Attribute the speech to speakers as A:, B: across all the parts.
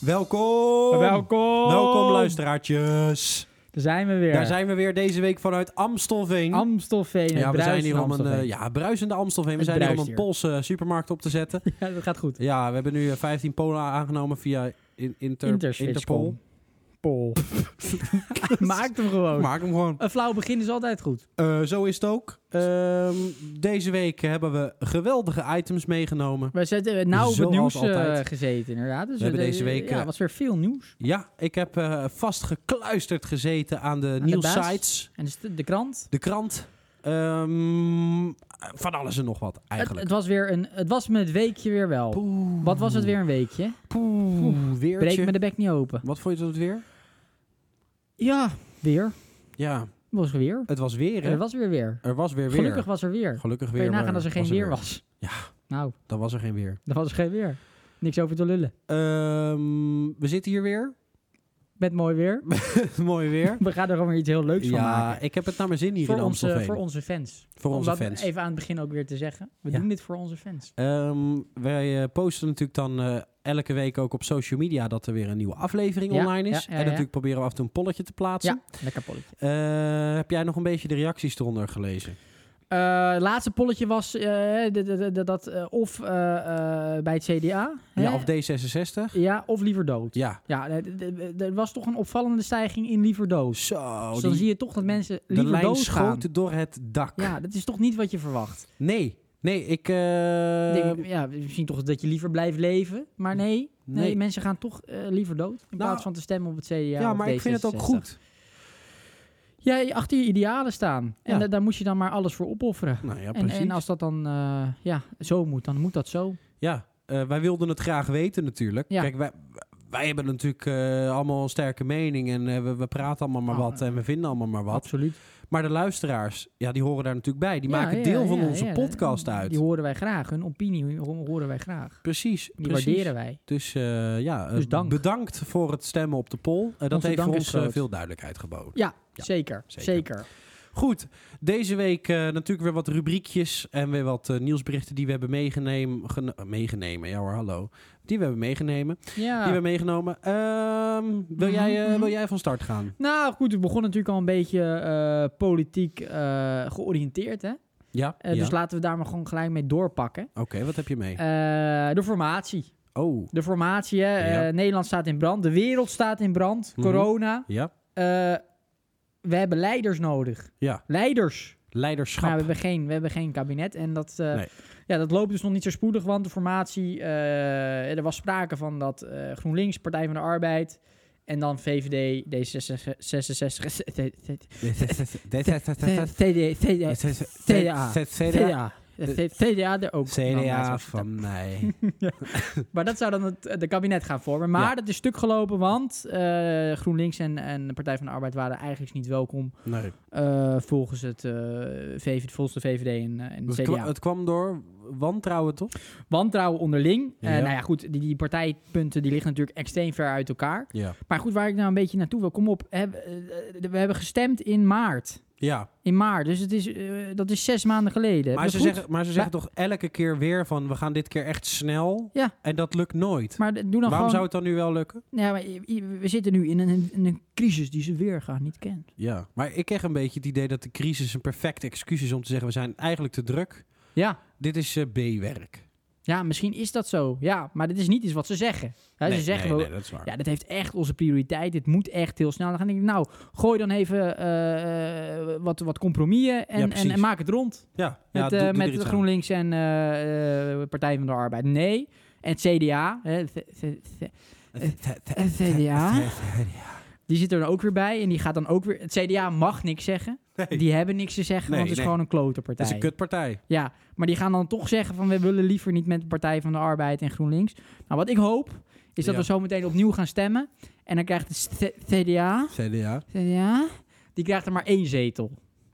A: Welkom!
B: Welkom!
A: Welkom luisteraartjes.
B: Daar zijn we weer.
A: Daar zijn we weer deze week vanuit Amstelveen.
B: Amstelveen.
A: ja,
B: het
A: we zijn
B: bruist
A: hier
B: van
A: om een eh,
B: Amstelveen.
A: ja, bruisende Amstelveen. We
B: Het
A: zijn hier om
B: bruist
A: een
B: hier.
A: Poolse eh, supermarkt op te zetten.
B: Ja, dat gaat goed.
A: ja, we hebben nu eh, 15 Polen aangenomen via in, inter, Interpol.
B: Interswitchcom. Pol. Maakt hem gewoon.
A: Maak hem gewoon.
B: Een flauw begin is altijd goed.
A: Eh, zo is het ook. Ehm, deze week hebben we geweldige items meegenomen.
B: We zitten nauw op het
A: Zoals
B: nieuws eh,
A: altijd.
B: gezeten, inderdaad. Dus
A: We hebben deze week,
B: Ja,
A: eh,
B: was weer veel nieuws.
A: Ja, ik heb eh vastgekluisterd gezeten aan de
B: de
A: nieuws
B: baas.
A: sites,
B: En dus de, de krant.
A: de krant. Ehm, van alles en nog wat
B: Het,
A: eigenlijk.
B: het was weer een. Het was me het weekje weer wel.
A: Poeh.
B: Wat was het weer een weekje?
A: Poeh,
B: Breek
A: weertje.
B: me de bek niet open.
A: Wat vond je van het weer?
B: Ja, weer.
A: Ja,
B: Was er weer.
A: het was weer, hè?
B: Er was weer weer.
A: Er was weer weer.
B: Gelukkig was er weer.
A: Gelukkig
B: Kun
A: weer.
B: je nagaan
A: maar
B: als er geen weer was.
A: Ja.
B: Nou,
A: Dan was er geen weer.
B: dan was er geen weer. Niks over te lullen.
A: Ehm, we zitten hier weer.
B: Met mooi weer.
A: Mooi weer.
B: We gaan er gewoon weer iets heel leuks van maken.
A: ja, ik heb het naar mijn zin hier
B: Voor
A: in
B: onze,
A: Amstelveen.
B: voor onze fans.
A: Voor
B: Om
A: onze
B: dat
A: fans.
B: even aan het begin ook weer te zeggen. We
A: Ja.
B: doen dit voor onze fans.
A: Ehm, wij eh, posten natuurlijk dan eh, elke week ook op social media dat er weer een nieuwe aflevering
B: Ja,
A: online is.
B: ja, ja,
A: en
B: ja.
A: natuurlijk proberen we af en toe een polletje te plaatsen.
B: Ja, lekker polletje.
A: Eh, heb jij nog een beetje de reacties eronder gelezen?
B: Eh, laatste polletje was eh, d- d- d- dat eh, of eh, eh, bij het CDA. hè?
A: Ja, of D66?
B: ja, of liever dood.
A: Ja.
B: Ja, eh, d- d- d- er was toch een opvallende stijging in liever dood.
A: Zo,
B: dus
A: die-
B: dan zie je toch dat mensen
A: de
B: liever
A: lijn
B: dood gaan.
A: schoot door het dak.
B: Ja, dat is toch niet wat je verwacht.
A: Nee, nee, ik... eh,
B: Ik denk, ja, misschien toch dat je liever blijft leven. Maar nee, nee,
A: Nee. Nou,
B: mensen gaan toch eh, liever dood. In plaats van te stemmen op het CDA.
A: ja,
B: of
A: maar ik vind het ook
B: D66.
A: goed.
B: Jij achter je idealen staan. En
A: Ja.
B: da- daar moet je dan maar alles voor opofferen.
A: Nou ja,
B: en,
A: precies.
B: en als dat dan eh, ja, zo moet, dan moet dat zo.
A: Ja, eh, wij wilden het graag weten natuurlijk.
B: Ja.
A: Kijk, wij, wij hebben natuurlijk eh, allemaal een sterke mening en eh, we, we praten allemaal maar
B: Nou,
A: wat en we vinden allemaal maar wat.
B: Absoluut.
A: Maar de luisteraars, ja, die horen daar natuurlijk bij. Die
B: Ja,
A: maken
B: ja,
A: deel van
B: ja,
A: onze
B: ja,
A: podcast
B: die-
A: uit.
B: Die horen wij graag. Hun opinie ho- horen wij graag.
A: precies.
B: Die
A: precies.
B: waarderen wij.
A: Dus eh, ja, eh,
B: Dus dank.
A: bedankt voor het stemmen op de poll. Eh, dat
B: Onze
A: heeft voor
B: dank is
A: ons eh,
B: groot.
A: veel duidelijkheid geboden.
B: Ja,
A: Ja,
B: zeker.
A: zeker.
B: Zeker.
A: Goed, deze week eh, natuurlijk weer wat rubriekjes en weer wat eh, nieuwsberichten die we hebben meegenemen. meegenomen, ja hoor, hallo. Die we hebben meegenomen.
B: Ja.
A: Die we hebben meegenomen. Ehm, wil, jij, eh,
B: Mhm.
A: wil jij van start gaan?
B: Nou goed, we begonnen natuurlijk al een beetje eh, politiek eh, georiënteerd. Hè?
A: Ja.
B: Eh,
A: ja.
B: Dus laten we daar maar gewoon gelijk mee doorpakken.
A: Oké, wat heb je mee?
B: Eh, de formatie.
A: oh,
B: De formatie, hè.
A: Ja.
B: Eh, Nederland staat in brand. De wereld staat in brand.
A: Mhm.
B: Corona.
A: ja.
B: Eh, we hebben leiders nodig.
A: Ja.
B: Leiders.
A: Leiderschap.
B: Maar we hebben geen, we hebben geen kabinet. En dat, eh,
A: Nee.
B: ja, dat loopt dus nog niet zo spoedig. Want de formatie... eh, er was sprake van dat eh, GroenLinks, Partij van de Arbeid... En dan VVD, D66, 66, TDA, CDA. TDA, TDA er ook.
A: CDA van mij.
B: Maar dat zou dan het de kabinet gaan vormen. Maar
A: Ja.
B: dat is stuk gelopen, want eh, GroenLinks en, en de Partij van de Arbeid waren eigenlijk niet welkom.
A: Nee.
B: eh, volgens, het, eh VV, volgens de VVD en, eh, en de
A: Het, kwam,
B: CDA.
A: het kwam door wantrouwen, toch?
B: Wantrouwen onderling. Eh,
A: Ja.
B: nou ja, goed, die, die partijpunten die liggen natuurlijk extreem ver uit elkaar.
A: Ja.
B: Maar goed, waar ik nou een beetje naartoe wil, kom op. hè, eh, eh, we hebben gestemd in maart.
A: Ja,
B: In maart, dus het is, eh, dat is zes maanden geleden.
A: maar
B: Dat
A: ze,
B: is goed.
A: zeggen, maar ze zeggen toch elke keer weer van... we gaan dit keer echt snel.
B: Ja.
A: En dat lukt nooit.
B: Maar doe dan
A: Waarom
B: gewoon...
A: zou het dan nu wel lukken?
B: Ja, maar i- i- we zitten nu in een, in een crisis die ze weer gaan niet kent.
A: Ja. Maar ik kreeg een beetje het idee dat de crisis een perfect excuus is... om te zeggen, we zijn eigenlijk te druk.
B: Ja.
A: Dit is eh, B-werk.
B: Ja, misschien is dat zo. Ja, maar dit is niet iets wat ze zeggen. Hè,
A: nee,
B: ze zeggen
A: nee,
B: wel,
A: nee, dat is waar.
B: ja, dit heeft echt onze prioriteit. Dit moet echt heel snel. Dan denk ik, nou, gooi dan even eh, eh, wat, wat compromissen en,
A: Ja,
B: en,
A: precies.
B: en maak het rond.
A: Ja, ja,
B: Met,
A: doe-
B: eh,
A: doe er
B: met
A: iets aan.
B: GroenLinks en eh, eh, Partij van de Arbeid. Nee. En het CDA. Hè, het- het- het- het CDA. Die zit er dan ook weer bij. En die gaat dan ook weer... Het CDA mag niks zeggen.
A: Nee,
B: Die hebben niks te zeggen,
A: Nee,
B: want het is
A: nee.
B: gewoon een klote
A: dat is
B: partij.
A: een kutpartij.
B: Ja, maar die gaan dan toch zeggen van we willen liever niet met de Partij van de Arbeid en GroenLinks. Nou, wat ik hoop is dat
A: Ja.
B: we zo meteen opnieuw gaan stemmen. En dan krijgt het C- CDA, Nou,
A: CDA.
B: CDA, die krijgt er maar één zetel.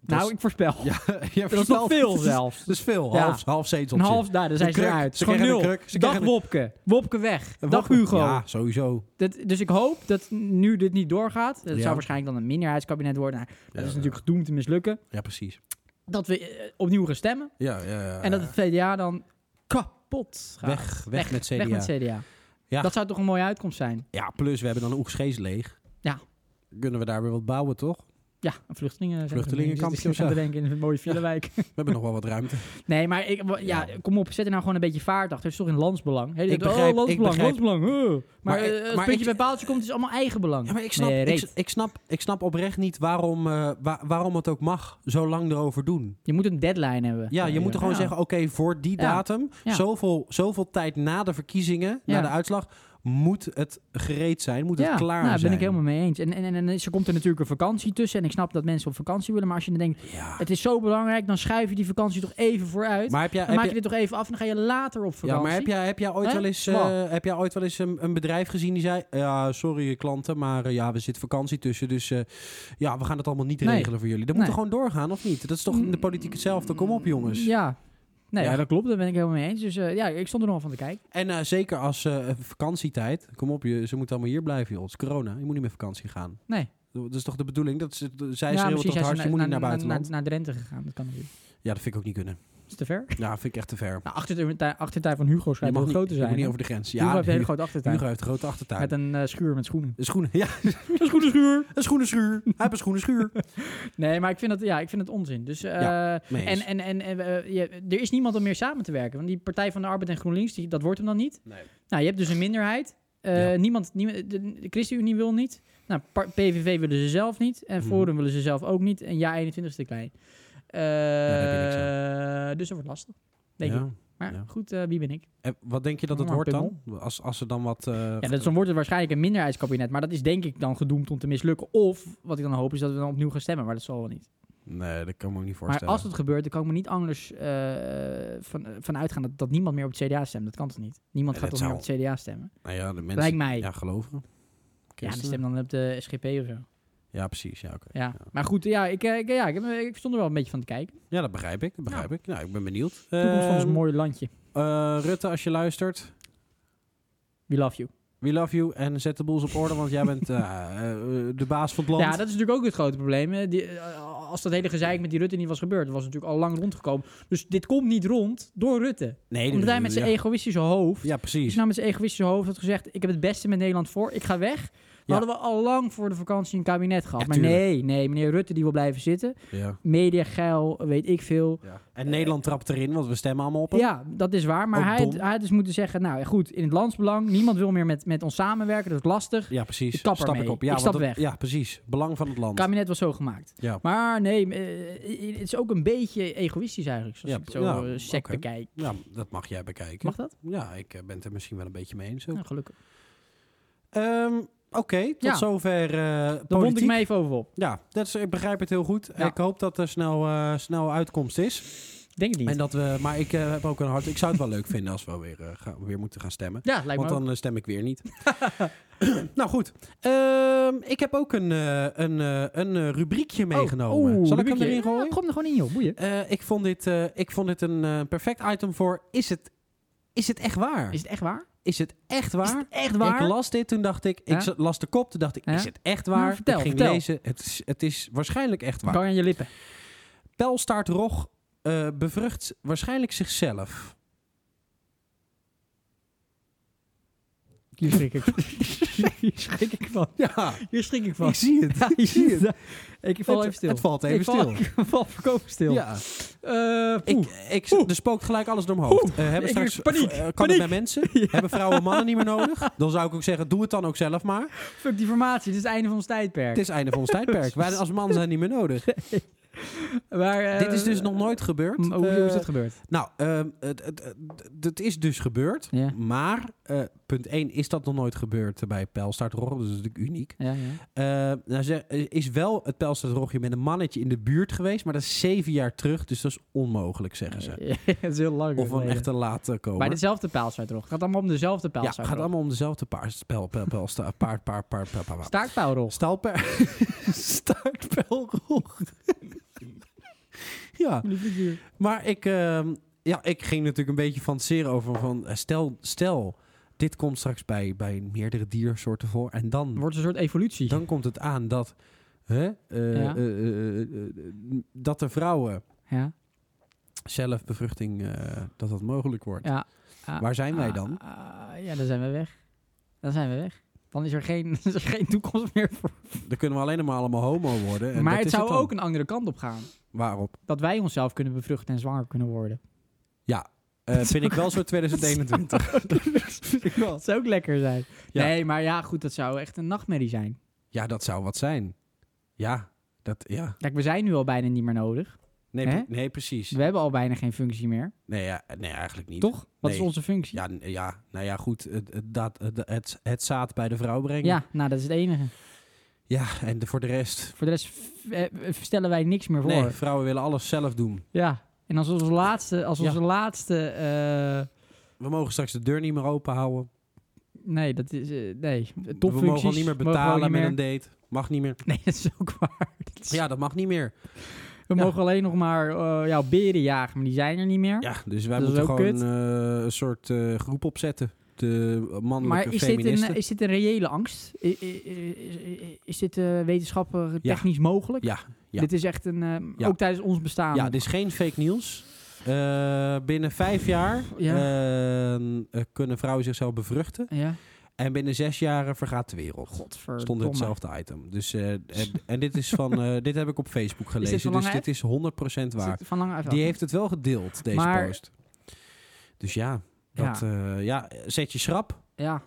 B: nou,
A: is-
B: ik voorspel.
A: Ja, je
B: dat is nog veel zelfs.
A: Dat is veel.
B: Ja.
A: Half, half zeteltje.
B: Een half, daar, daar zijn
A: Een
B: ze
A: kruk.
B: eruit.
A: Ze
B: Gewoon
A: krijgen
B: nul.
A: een kruk. Ze
B: Dag
A: krijgen een-
B: Wopke. Wopke weg.
A: Een
B: Dag
A: wappen.
B: Hugo.
A: Ja, sowieso.
B: Dat, dus ik hoop dat nu dit niet doorgaat. Het
A: Ja.
B: zou waarschijnlijk dan een minderheidskabinet worden. Nou, dat
A: Ja,
B: is
A: ja.
B: natuurlijk gedoemd te mislukken.
A: Ja, precies.
B: Dat we eh, opnieuw gaan stemmen.
A: Ja, ja, ja.
B: en dat het CDA dan kapot gaat.
A: Weg, weg, met CDA.
B: Weg met CDA.
A: Ja.
B: Dat zou toch een mooie uitkomst zijn?
A: Ja, plus we hebben dan Oegstgeest leeg.
B: Ja.
A: Kunnen we daar weer wat bouwen, toch?
B: Ja, een vluchtelingen.
A: Vluchtelingenkamp,
B: Ik
A: zo.
B: te denken in een mooie vierenwijk.
A: We hebben nog wel wat ruimte.
B: Nee, maar ik, wa- ja,
A: Ja.
B: kom op, zet er nou gewoon een beetje vaart achter. Het is toch in landsbelang? Hè, die
A: Ik
B: denken,
A: begrijp-
B: oh,
A: ik
B: landsbelang,
A: begrijp-
B: landsbelang. oh. Maar,
A: Maar
B: eh,
A: ik-
B: als
A: maar
B: puntje
A: ik-
B: bij paaltje komt, is allemaal eigen belang.
A: Ja, maar ik snap,
B: Nee,
A: ik,
B: reet.
A: ik, snap, ik snap oprecht niet waarom, eh, wa- waarom het ook mag zo lang erover doen.
B: Je moet een deadline hebben.
A: Ja, je moet er gewoon
B: Ja.
A: zeggen, oh, oké, voor die
B: Ja.
A: datum,
B: Ja.
A: Zoveel, zoveel tijd na de verkiezingen,
B: Ja.
A: na de uitslag, moet het gereed zijn, moet
B: ja,
A: het klaar
B: nou, daar
A: zijn.
B: ben ik helemaal mee eens. En, en, en, en ze komt er natuurlijk een vakantie tussen. En ik snap dat mensen op vakantie willen. Maar als je dan denkt,
A: Ja.
B: het is zo belangrijk, dan schuif je die vakantie toch even vooruit.
A: Maar heb jij,
B: dan
A: heb
B: maak je
A: je,
B: dit toch even af en dan ga je later op vakantie.
A: ja, maar heb jij, heb jij ooit
B: Hè?
A: wel eens,
B: Smal.
A: eh, heb jij ooit wel eens een, een bedrijf gezien die zei, ja, sorry eh, klanten, maar eh, ja, we zit vakantie tussen, dus eh, ja, we gaan het allemaal niet
B: Nee.
A: regelen voor jullie. Dat moet
B: Nee.
A: er gewoon doorgaan, of niet? Dat is toch in de politiek hetzelfde? Kom op, jongens.
B: Mm. Ja. Nee,
A: Ja.
B: ja, dat klopt. Daar ben ik helemaal mee eens. Dus eh, ja, ik stond er nog wel van te kijken.
A: En eh, zeker als eh, vakantietijd, kom op, je, ze moeten allemaal hier blijven, joh. Het is corona, je moet niet meer vakantie gaan.
B: Nee.
A: Dat is toch de bedoeling? Dat ze, zij
B: ja,
A: schreeuwen
B: misschien
A: toch
B: zijn
A: hard,
B: ze
A: je moet
B: na-
A: niet naar
B: na- na-
A: buitenland.
B: naar Drenthe gegaan. Dat kan natuurlijk.
A: Ja, dat vind ik ook niet kunnen.
B: Is te ver?
A: Ja, vind ik echt te ver.
B: Nou, achtertuin, achtertuin van Hugo
A: je
B: schijnt
A: mag
B: wel
A: niet,
B: groot te
A: je
B: zijn.
A: moet niet
B: hè?
A: over de grens.
B: Hugo
A: Ja,
B: heeft een hele
A: Hugo,
B: grote achtertuin.
A: Hugo heeft een grote achtertuin.
B: Met een eh, schuur met schoenen.
A: Een schoenen, ja,
B: Een schoenenschuur!
A: een schoenenschuur. Hij heeft een schoenenschuur.
B: Nee, maar ik vind het, ja, ik vind het onzin. Dus, eh,
A: Mee
B: en
A: eens.
B: en, en eh, je- er is niemand om meer samen te werken. Want die Partij van de Arbeid en GroenLinks, die, dat wordt hem dan niet.
A: Nee.
B: Nou, je hebt dus een minderheid. Eh,
A: Ja.
B: niemand, niemand, de, de ChristenUnie wil niet. Nou, par- PVV willen ze zelf niet. En
A: Mhm.
B: Forum willen ze zelf ook niet. En Ja 21 is te klein. Eh,
A: Nou, daar heb je niks
B: dus dat wordt lastig. Denk
A: Ja.
B: ik. Maar
A: ja.
B: goed, eh, wie ben ik?
A: En wat denk je dat het
B: Maar
A: wordt dan? Als, als er dan wat... eh,
B: Nou, Ja, dat, dan wordt het waarschijnlijk een minderheidskabinet. Maar dat is denk ik dan gedoemd om te mislukken. Of, wat ik dan hoop, is dat we dan opnieuw gaan stemmen. Maar dat zal wel niet.
A: Nee, dat kan ik me ook niet
B: Maar
A: voorstellen.
B: als het gebeurt, dan kan ik me niet anders eh, van, van uitgaan dat, dat niemand meer op het CDA stemt. Dat kan toch niet? Niemand
A: Nee,
B: gaat
A: dat
B: toch meer op
A: zou-
B: het CDA stemmen?
A: Nou ja, de mensen...
B: Lijkt mij. Ja,
A: Ja, geloven.
B: dan
A: Christenen.
B: stem dan op de SGP of zo.
A: Ja, precies. Ja, oké.
B: Ja. Maar goed, ja, ik, eh, ik, ja, ik, heb, eh, ik stond er wel een beetje van te kijken.
A: ja, dat begrijp ik. Dat begrijp ik. Nou, ik ben benieuwd.
B: Toekomst van ons
A: Ehm,
B: mooie landje.
A: eh, Rutte, als je luistert,
B: We love you.
A: we love you. En zet de boels op orde, want jij bent eh, eh, de baas van het land.
B: Ja, dat is natuurlijk ook het grote probleem. hè. Die, eh, als dat hele gezeik met die Rutte niet was gebeurd, was het natuurlijk al lang rondgekomen. Dus dit komt niet rond door Rutte.
A: nee,
B: Omdat hij met zijn
A: ja.
B: egoïstische hoofd
A: Ja,
B: Die
A: precies.
B: is nou met zijn egoïstische hoofd had gezegd: Ik heb het beste met Nederland voor, ik ga weg. We
A: Ja.
B: hadden we al lang voor de vakantie een kabinet gehad.
A: Ja,
B: maar
A: tuurlijk.
B: nee, nee, meneer Rutte die wil blijven zitten.
A: Ja.
B: Media geil, weet ik veel.
A: Ja. En Nederland trapt erin, want we stemmen allemaal op hem.
B: Ja, dat is waar. Maar
A: Ook
B: hij,
A: dom.
B: hij had dus moeten zeggen: Nou goed, in het landsbelang, niemand wil meer met, met ons samenwerken, dat is lastig.
A: Ja, precies.
B: Ik kap
A: stap
B: ermee.
A: ik op. Ja,
B: Ik
A: want
B: stap
A: dat-
B: weg.
A: Ja, precies. Belang van het land.
B: Het kabinet was zo gemaakt.
A: Ja.
B: Maar nee, eh, het is ook een beetje egoïstisch eigenlijk, zoals
A: Ja,
B: ik het zo
A: ja,
B: eh, sec
A: oké.
B: bekijk.
A: ja, dat mag jij bekijken.
B: Mag dat?
A: Ja, ik eh, ben het er misschien wel een beetje mee eens. ook.
B: Nou, gelukkig.
A: Ehm, Oké, tot
B: Ja.
A: zover eh politiek.
B: Dan wond ik me even over op.
A: Ja, dat is, ik begrijp het heel goed.
B: Ja.
A: Ik hoop dat er snel, eh, snel uitkomst is.
B: Denk ik niet.
A: En dat we, maar ik eh, heb ook een hart. Ik zou het wel leuk vinden als we weer, eh, gaan, weer moeten gaan stemmen.
B: ja, lijkt me
A: Want
B: ook.
A: dan eh, stem ik weer niet. nou goed, Ehm, ik heb ook een, eh, een, eh, een eh, rubriekje meegenomen.
B: Oh, oeh,
A: Zal ik hem
B: rubriekje.
A: erin gooien?
B: Ja, gooi hem er gewoon in, joh. Boeien.
A: Eh, ik, vond dit, eh, ik vond dit een eh, perfect item voor. Is het, is het echt waar?
B: Is
A: Is,
B: het echt waar?
A: het echt waar?
B: Is het echt waar?
A: Ik las dit, toen dacht ik.
B: Ja?
A: Ik zat- las de kop, toen dacht ik.
B: Ja?
A: Is het echt waar?
B: Nou, vertel,
A: ik ging
B: vertel.
A: lezen. Het is, het is waarschijnlijk echt waar.
B: Kan aan je lippen.
A: Pelstaart Rog eh, bevrucht waarschijnlijk zichzelf.
B: Hier schrik ik van. Hier schrik ik van.
A: Ja,
B: Hier schrik ik van.
A: zie het.
B: Ja,
A: ik zie het.
B: Ik val
A: het,
B: even stil.
A: Het valt even
B: ik val,
A: stil.
B: Ik val voorkomen stil.
A: Ja.
B: Eh,
A: Ik,
B: poeh.
A: ik,
B: Oeh.
A: er spookt gelijk alles door mijn hoofd. Eh, hebben
B: Ik-
A: straks,
B: paniek,
A: eh, kan
B: paniek.
A: het bij mensen? Hebben vrouwen en mannen niet meer nodig? Dan zou ik ook zeggen, doe het dan ook zelf maar.
B: Fuck die formatie. Dit is het einde van ons tijdperk.
A: Het is einde van ons tijdperk. Wij als man zijn niet meer nodig.
B: Maar, eh,
A: Dit is dus nog nooit gebeurd.
B: m- Hoe, hoe is
A: Eh,
B: het gebeurd?
A: Nou, ehm, het, het, het- het is dus gebeurd.
B: Ja.
A: Maar, eh, punt 1, is dat nog nooit gebeurd bij Pijlstaart Rogge. Dus dat is natuurlijk uniek.
B: Ja, ja.
A: Eh, nou, ze- er is wel het Pijlstaart Rogge met een mannetje in de buurt geweest. Maar dat is zeven jaar terug. Dus dat is onmogelijk, zeggen ze.
B: Het is heel lang.
A: eh. Of we hem
B: geleden.
A: echt te laat eh, komen.
B: Bij dezelfde pijlsuitrog. Het gaat allemaal om dezelfde
A: ja, het
B: pijlsuitrog.
A: gaat allemaal om dezelfde paard. Pel, pel, pel, sta, paard, paard, paard, paard, paard.
B: Staartpijlrol.
A: Stalper. Staartpelrog. ja. Maar ik, ehm, ja, ik ging natuurlijk een beetje fantaseren over van... eh, Stel, stel dit komt straks bij, bij meerdere diersoorten voor. En
B: Het
A: dan,
B: wordt een soort evolutie.
A: dan komt het aan dat... Hè, eh,
B: Ja.
A: eh, eh, eh, eh, dat de vrouwen
B: Ja.
A: zelfbevruchting... eh, dat dat mogelijk wordt.
B: ja. Ah,
A: Waar zijn wij
B: ah,
A: dan?
B: ah, ja, dan zijn we weg. dan zijn we weg. Dan is er geen, is er geen toekomst meer voor.
A: Dan kunnen we alleen maar allemaal homo worden. En
B: ah. maar
A: Eh, dat
B: het
A: is
B: zou
A: dan.
B: ook een andere kant op gaan.
A: Waarop?
B: Dat wij onszelf kunnen bevruchten en zwanger kunnen worden.
A: Eh, vind ik wel zo 2021. Vind ik wel.
B: Dat zou ook lekker zijn.
A: Ja.
B: Nee, maar ja, goed, dat zou echt een nachtmerrie zijn.
A: Ja, dat zou wat zijn. Ja, dat, ja.
B: Kijk, we zijn nu al bijna niet meer nodig.
A: Nee,
B: Hè?
A: pre- nee precies.
B: We hebben al bijna geen functie meer.
A: Nee, ja, nee, eigenlijk niet.
B: Toch? Wat is
A: Nee.
B: onze functie?
A: Ja, n- ja, nou ja, goed. Het, het, dat, het, het, het zaad bij de vrouw brengen.
B: Ja, nou, dat is het enige.
A: Ja, en de- voor de rest.
B: Voor de rest f- eh, stellen wij niks meer voor.
A: Nee, vrouwen willen alles zelf doen.
B: Ja. En als onze laatste, als
A: Ja.
B: onze laatste, eh,
A: We mogen straks de deur niet meer open houden.
B: nee, dat is, eh, nee, topfuncties.
A: We mogen al niet meer
B: mogen we
A: betalen
B: ook niet
A: met
B: meer.
A: een date. Mag niet meer.
B: Nee, dat is ook waar. Dat is-
A: Ja, dat mag niet meer.
B: We
A: Ja.
B: mogen alleen nog maar eh ja, beren jagen, maar die zijn er niet meer.
A: Ja, dus wij
B: Dat is
A: moeten
B: ook
A: gewoon
B: kut.
A: eh, een soort eh, groep opzetten. De mannelijke
B: maar is dit,
A: feministen.
B: een, eh, is dit een reële angst? I- i- i- i- Is dit eh, wetenschappelijk
A: Ja.
B: technisch mogelijk?
A: Ja, ja.
B: Dit is echt een, eh,
A: Ja.
B: ook tijdens ons bestaan.
A: Ja, dit is geen fake nieuws. Eh, binnen vijf jaar
B: Ja.
A: eh, eh, kunnen vrouwen zichzelf bevruchten.
B: ja.
A: En binnen zes jaar vergaat de wereld.
B: Godverdomme.
A: Stond in hetzelfde item. Dus, eh, en, en dit is van, eh, dit heb ik op Facebook gelezen.
B: van
A: dus
B: Lange
A: dit is 100%
B: Is
A: waar.
B: dit Van lang af.
A: Die heeft het wel gedeeld, deze
B: Maar-
A: post. Dus ja, dat, eh, ja, zet je schrap.
B: Ja.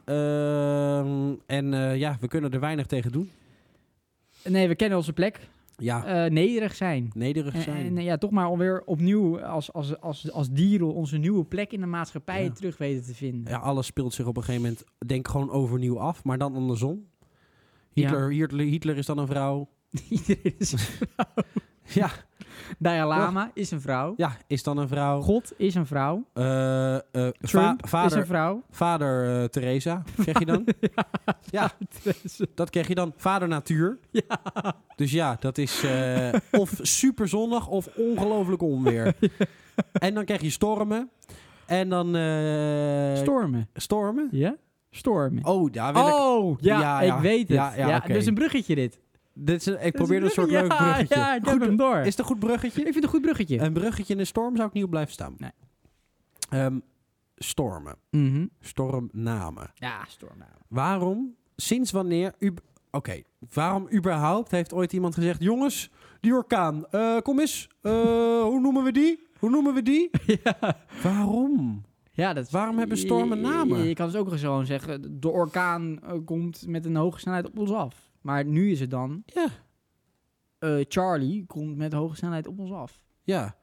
A: Ehm, en eh, ja, we kunnen er weinig tegen doen.
B: Nee, we kennen onze plek.
A: Ja,
B: Eh, nederig zijn.
A: nederig
B: En,
A: zijn.
B: en, ja, toch maar alweer opnieuw als, als, als, als dieren onze nieuwe plek in de maatschappij
A: Ja.
B: terug weten te vinden.
A: ja, alles speelt zich op een gegeven moment, denk gewoon overnieuw af, maar dan andersom. Hitler, Hitler, Hitler is dan een vrouw.
B: Iedereen is een vrouw.
A: Ja.
B: Dalai Lama is een vrouw.
A: Ja, is dan een vrouw.
B: God is een vrouw.
A: Eh, eh, va-
B: Trump is
A: vader
B: een vrouw.
A: vader eh, Theresa, zeg je dan? ja, dat krijg je dan. Vader Natuur. Dus ja, dat is eh, of super zonnig of ongelooflijk onweer. En dan krijg je stormen. En dan... eh,
B: Stormen.
A: stormen?
B: Ja? Stormen.
A: Oh, daar wil ik...
B: Oh, ja,
A: Ja, ja.
B: ik weet het.
A: Ja,
B: Ja,
A: ja, oké.
B: Dus een bruggetje dit.
A: Dit is een- ik
B: Dit is
A: probeer een soort
B: ja,
A: leuk bruggetje.
B: Ja, ik heb
A: Goed,
B: hem door.
A: Is Eh, het een goed bruggetje?
B: Ik vind het een goed bruggetje.
A: Een bruggetje in een storm zou ik niet op blijven staan.
B: Nee.
A: Ehm, stormen.
B: Mhm.
A: Stormnamen.
B: Ja, storm nou.
A: Waarom? Sinds wanneer? u- Oké, waarom überhaupt heeft ooit iemand gezegd... Jongens, die orkaan, eh, kom eens. Eh, hoe noemen we die? Hoe noemen we die? Waarom?
B: Ja, dat is-
A: Waarom hebben stormen
B: Je-
A: namen?
B: Je, je kan dus ook gewoon zeggen, de orkaan eh, komt met een hoge snelheid op ons af. Maar nu is het dan,
A: Ja.
B: eh, Charlie komt met hoge snelheid op ons af.
A: Ja.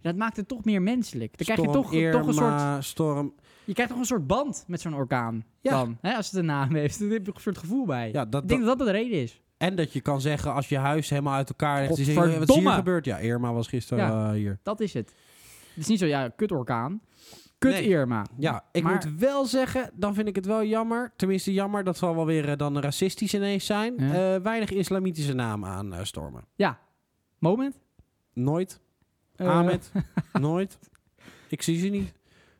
B: Dat maakt het toch meer menselijk. Dan krijg je
A: Storm
B: toch, toch een soort,
A: Irma, storm...
B: je krijgt toch een soort band met zo'n orkaan.
A: Ja.
B: Dan, hè, als het een naam heeft, dan heb je een soort gevoel bij.
A: Ja, dat,
B: Ik denk dat dat de reden is.
A: en dat je kan zeggen als je huis helemaal uit elkaar ligt... dan zeg je, "Hey, Wat is hier
B: Godverdomme.
A: gebeurd? Ja, Irma was gisteren eh, hier.
B: Dat is het. Het is niet zo, ja, kut orkaan. Kut
A: Nee.
B: Irma.
A: Ja, ik
B: Maar-
A: moet wel zeggen, dan vind ik het wel jammer. Tenminste, jammer dat zal wel weer eh, dan racistisch ineens zijn.
B: Ja.
A: Eh, weinig islamitische namen aan eh, stormen.
B: Moment.
A: Nooit.
B: Eh,
A: Ahmed. Nooit. Ik zie ze niet.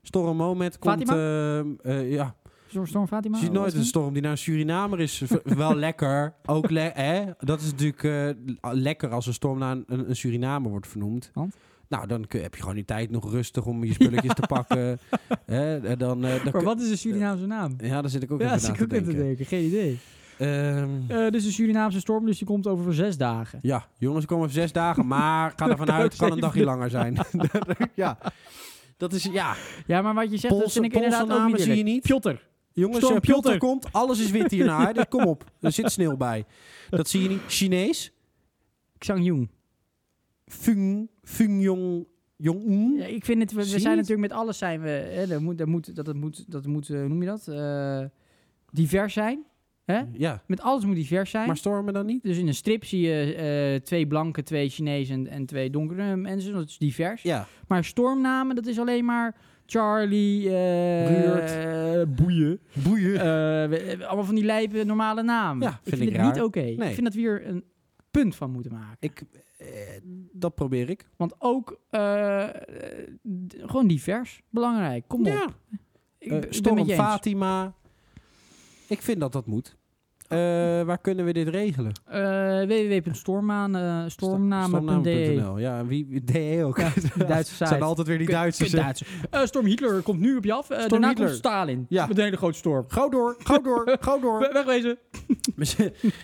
A: Storm Mohamed komt...
B: Fatima?
A: eh, eh, ja,
B: Storm, storm Fatima.
A: je ziet
B: wat
A: nooit
B: is
A: een
B: het?
A: storm die naar een Surinamer is. V- wel lekker. Ook le hè? Dat is natuurlijk eh, lekker als een storm naar een, een een Surinamer wordt vernoemd.
B: Want?
A: Nou, dan kun- heb je gewoon die tijd nog rustig om je spulletjes te pakken. Hè, en dan, eh, dan
B: Maar
A: kun-
B: wat is de Surinaamse naam?
A: Ja, daar zit ik ook
B: ja,
A: even
B: zit
A: na
B: ik
A: te
B: ook in
A: denken.
B: te denken. Geen idee.
A: Ehm,
B: Eh, dus een Surinaamse storm, dus die komt over zes dagen.
A: ja, jongens, komen even zes dagen, maar ga ervan
B: Kan
A: uit,
B: ook
A: kan een dagje
B: zeven.
A: langer zijn. ja, dat is, ja.
B: Ja, maar wat je zegt, dat
A: Poolse-
B: vind ik
A: Poolse
B: inderdaad ook
A: namen
B: niet
A: zie je
B: eerlijk.
A: niet.
B: Pjotter.
A: Jongens,
B: Storm
A: eh, Piotr
B: Piotr.
A: komt, alles is wit hierna, hè, dus kom op. Er zit sneeuw bij. Dat zie je niet. Chinees,
B: Xiangyong.
A: Fung, Fung Jong, Jong Un.
B: Ja, ik vind het, we, we
A: Zie je
B: zijn
A: het?
B: natuurlijk met alles zijn we, hè, dat moet, dat moet, dat, dat moet, dat moet, eh, hoe noem je dat? Eh, divers zijn. Hè?
A: Ja,
B: Met alles moet divers zijn.
A: maar stormen dan niet?
B: Dus in een strip zie je eh, twee blanke, twee Chinezen en, en twee donkere mensen. dus Dat is divers.
A: Ja,
B: Maar stormnamen, dat is alleen maar Charlie, eh,
A: Ruurt.
B: eh, Boeien.
A: boeien.
B: Eh, we- we- allemaal van die lijpe normale namen.
A: Ja,
B: ik
A: vind
B: vind,
A: ik
B: het
A: raar.
B: niet oké.
A: Nee.
B: Ik vind dat we hier een punt van moeten maken.
A: ik, eh, dat probeer ik.
B: Want ook eh, d- gewoon divers. Belangrijk. Kom op.
A: Ja, eh,
B: Ik ben- ik ben met
A: storm
B: je eens.
A: Fatima. Ik vind dat dat moet. Eh, waar kunnen we dit regelen?
B: Eh www.stormnamen.de.
A: Stormnamen.nl. Ja, en wie, DE ook.
B: Ja, die Duitse site.
A: zijn altijd weer die Duitsers. hè.
B: Duitsers. Eh, Storm Hitler komt nu op je af. Eh,
A: Storm
B: daarna
A: Hitler.
B: komt Stalin.
A: Ja.
B: Met een hele grote storm.
A: Gauw door, gauw door, gauw door.
B: We- Wegwezen.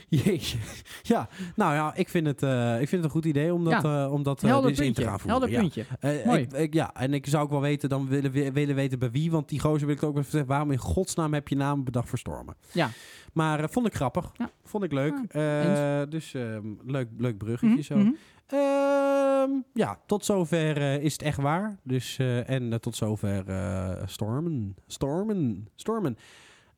A: Jeetje. Ja, nou ja, ik vind het, eh, ik vind het een goed idee om dat, eh, om dat eh,
B: Helder
A: dus in te
B: puntje.
A: gaan voeren.
B: Helder
A: ja.
B: puntje.
A: Eh,
B: Mooi.
A: ik- ik- ja, en ik zou ook wel weten, dan willen, we- willen weten bij wie. Want die gozer wil ik ook even zeggen, waarom in godsnaam heb je naam bedacht voor stormen?
B: Ja.
A: Maar eh, vond ik grappig.
B: Ja.
A: Vond ik leuk.
B: Ja,
A: Eh, dus ehm, leuk, leuk bruggetje
B: Mhm,
A: zo.
B: mhm.
A: Ehm, ja, tot zover eh, is het echt waar. Dus, eh, en eh, tot zover eh, stormen. Stormen. Stormen.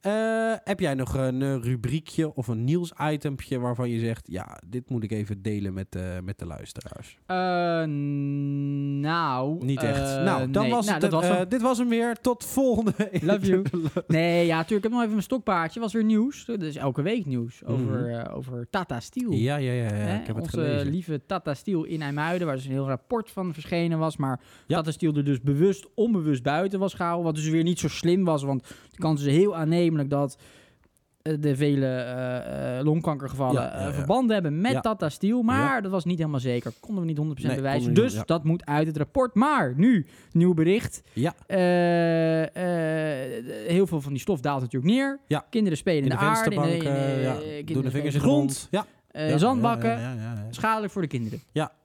A: Eh, heb jij nog een eh, rubriekje of een nieuwsitempje waarvan je zegt... ja, dit moet ik even delen met, eh, met de luisteraars?
B: Eh, nou.
A: Niet echt.
B: eh,
A: nou, dan
B: nee.
A: was
B: Nou,
A: het,
B: dat
A: eh,
B: was hem.
A: dit was hem weer. Tot volgende.
B: Love you. Nee, ja, natuurlijk. Ik heb nog even mijn stokpaardje. was weer nieuws. Dat is elke week nieuws over, eh, over Tata Steel.
A: Mhm. Ja, ja, ja. ja.
B: Hè,
A: Eh, Ik heb het
B: Onze
A: gelezen.
B: lieve Tata Steel in IJmuiden, waar dus een heel rapport van verschenen was. Maar
A: Ja.
B: Tata Steel er dus bewust onbewust buiten was gehouden. Wat dus weer niet zo slim was, want de kans is heel aannemelijk dat eh, de vele eh, eh, longkankergevallen
A: Ja, ja,
B: eh,
A: ja.
B: verband hebben met
A: Ja.
B: Tata Steel. Maar dat was niet helemaal zeker. Konden we niet 100%
A: Nee,
B: bewijzen.
A: konden we
B: Dus
A: niet, ja.
B: dat moet uit het rapport. Maar nu, nieuw bericht.
A: Ja.
B: Eh, eh, heel veel van die stof daalt natuurlijk neer.
A: Ja.
B: Kinderen spelen
A: In
B: in,
A: de
B: aarde. in de-
A: vensterbank.
B: in de-
A: eh, ja.
B: eh, kinderen
A: Doe de vingers in
B: spelen
A: de grond. Ja.
B: eh,
A: ja,
B: zandbakken.
A: ja, ja, ja, ja.
B: Schadelijk voor de kinderen.
A: Ja.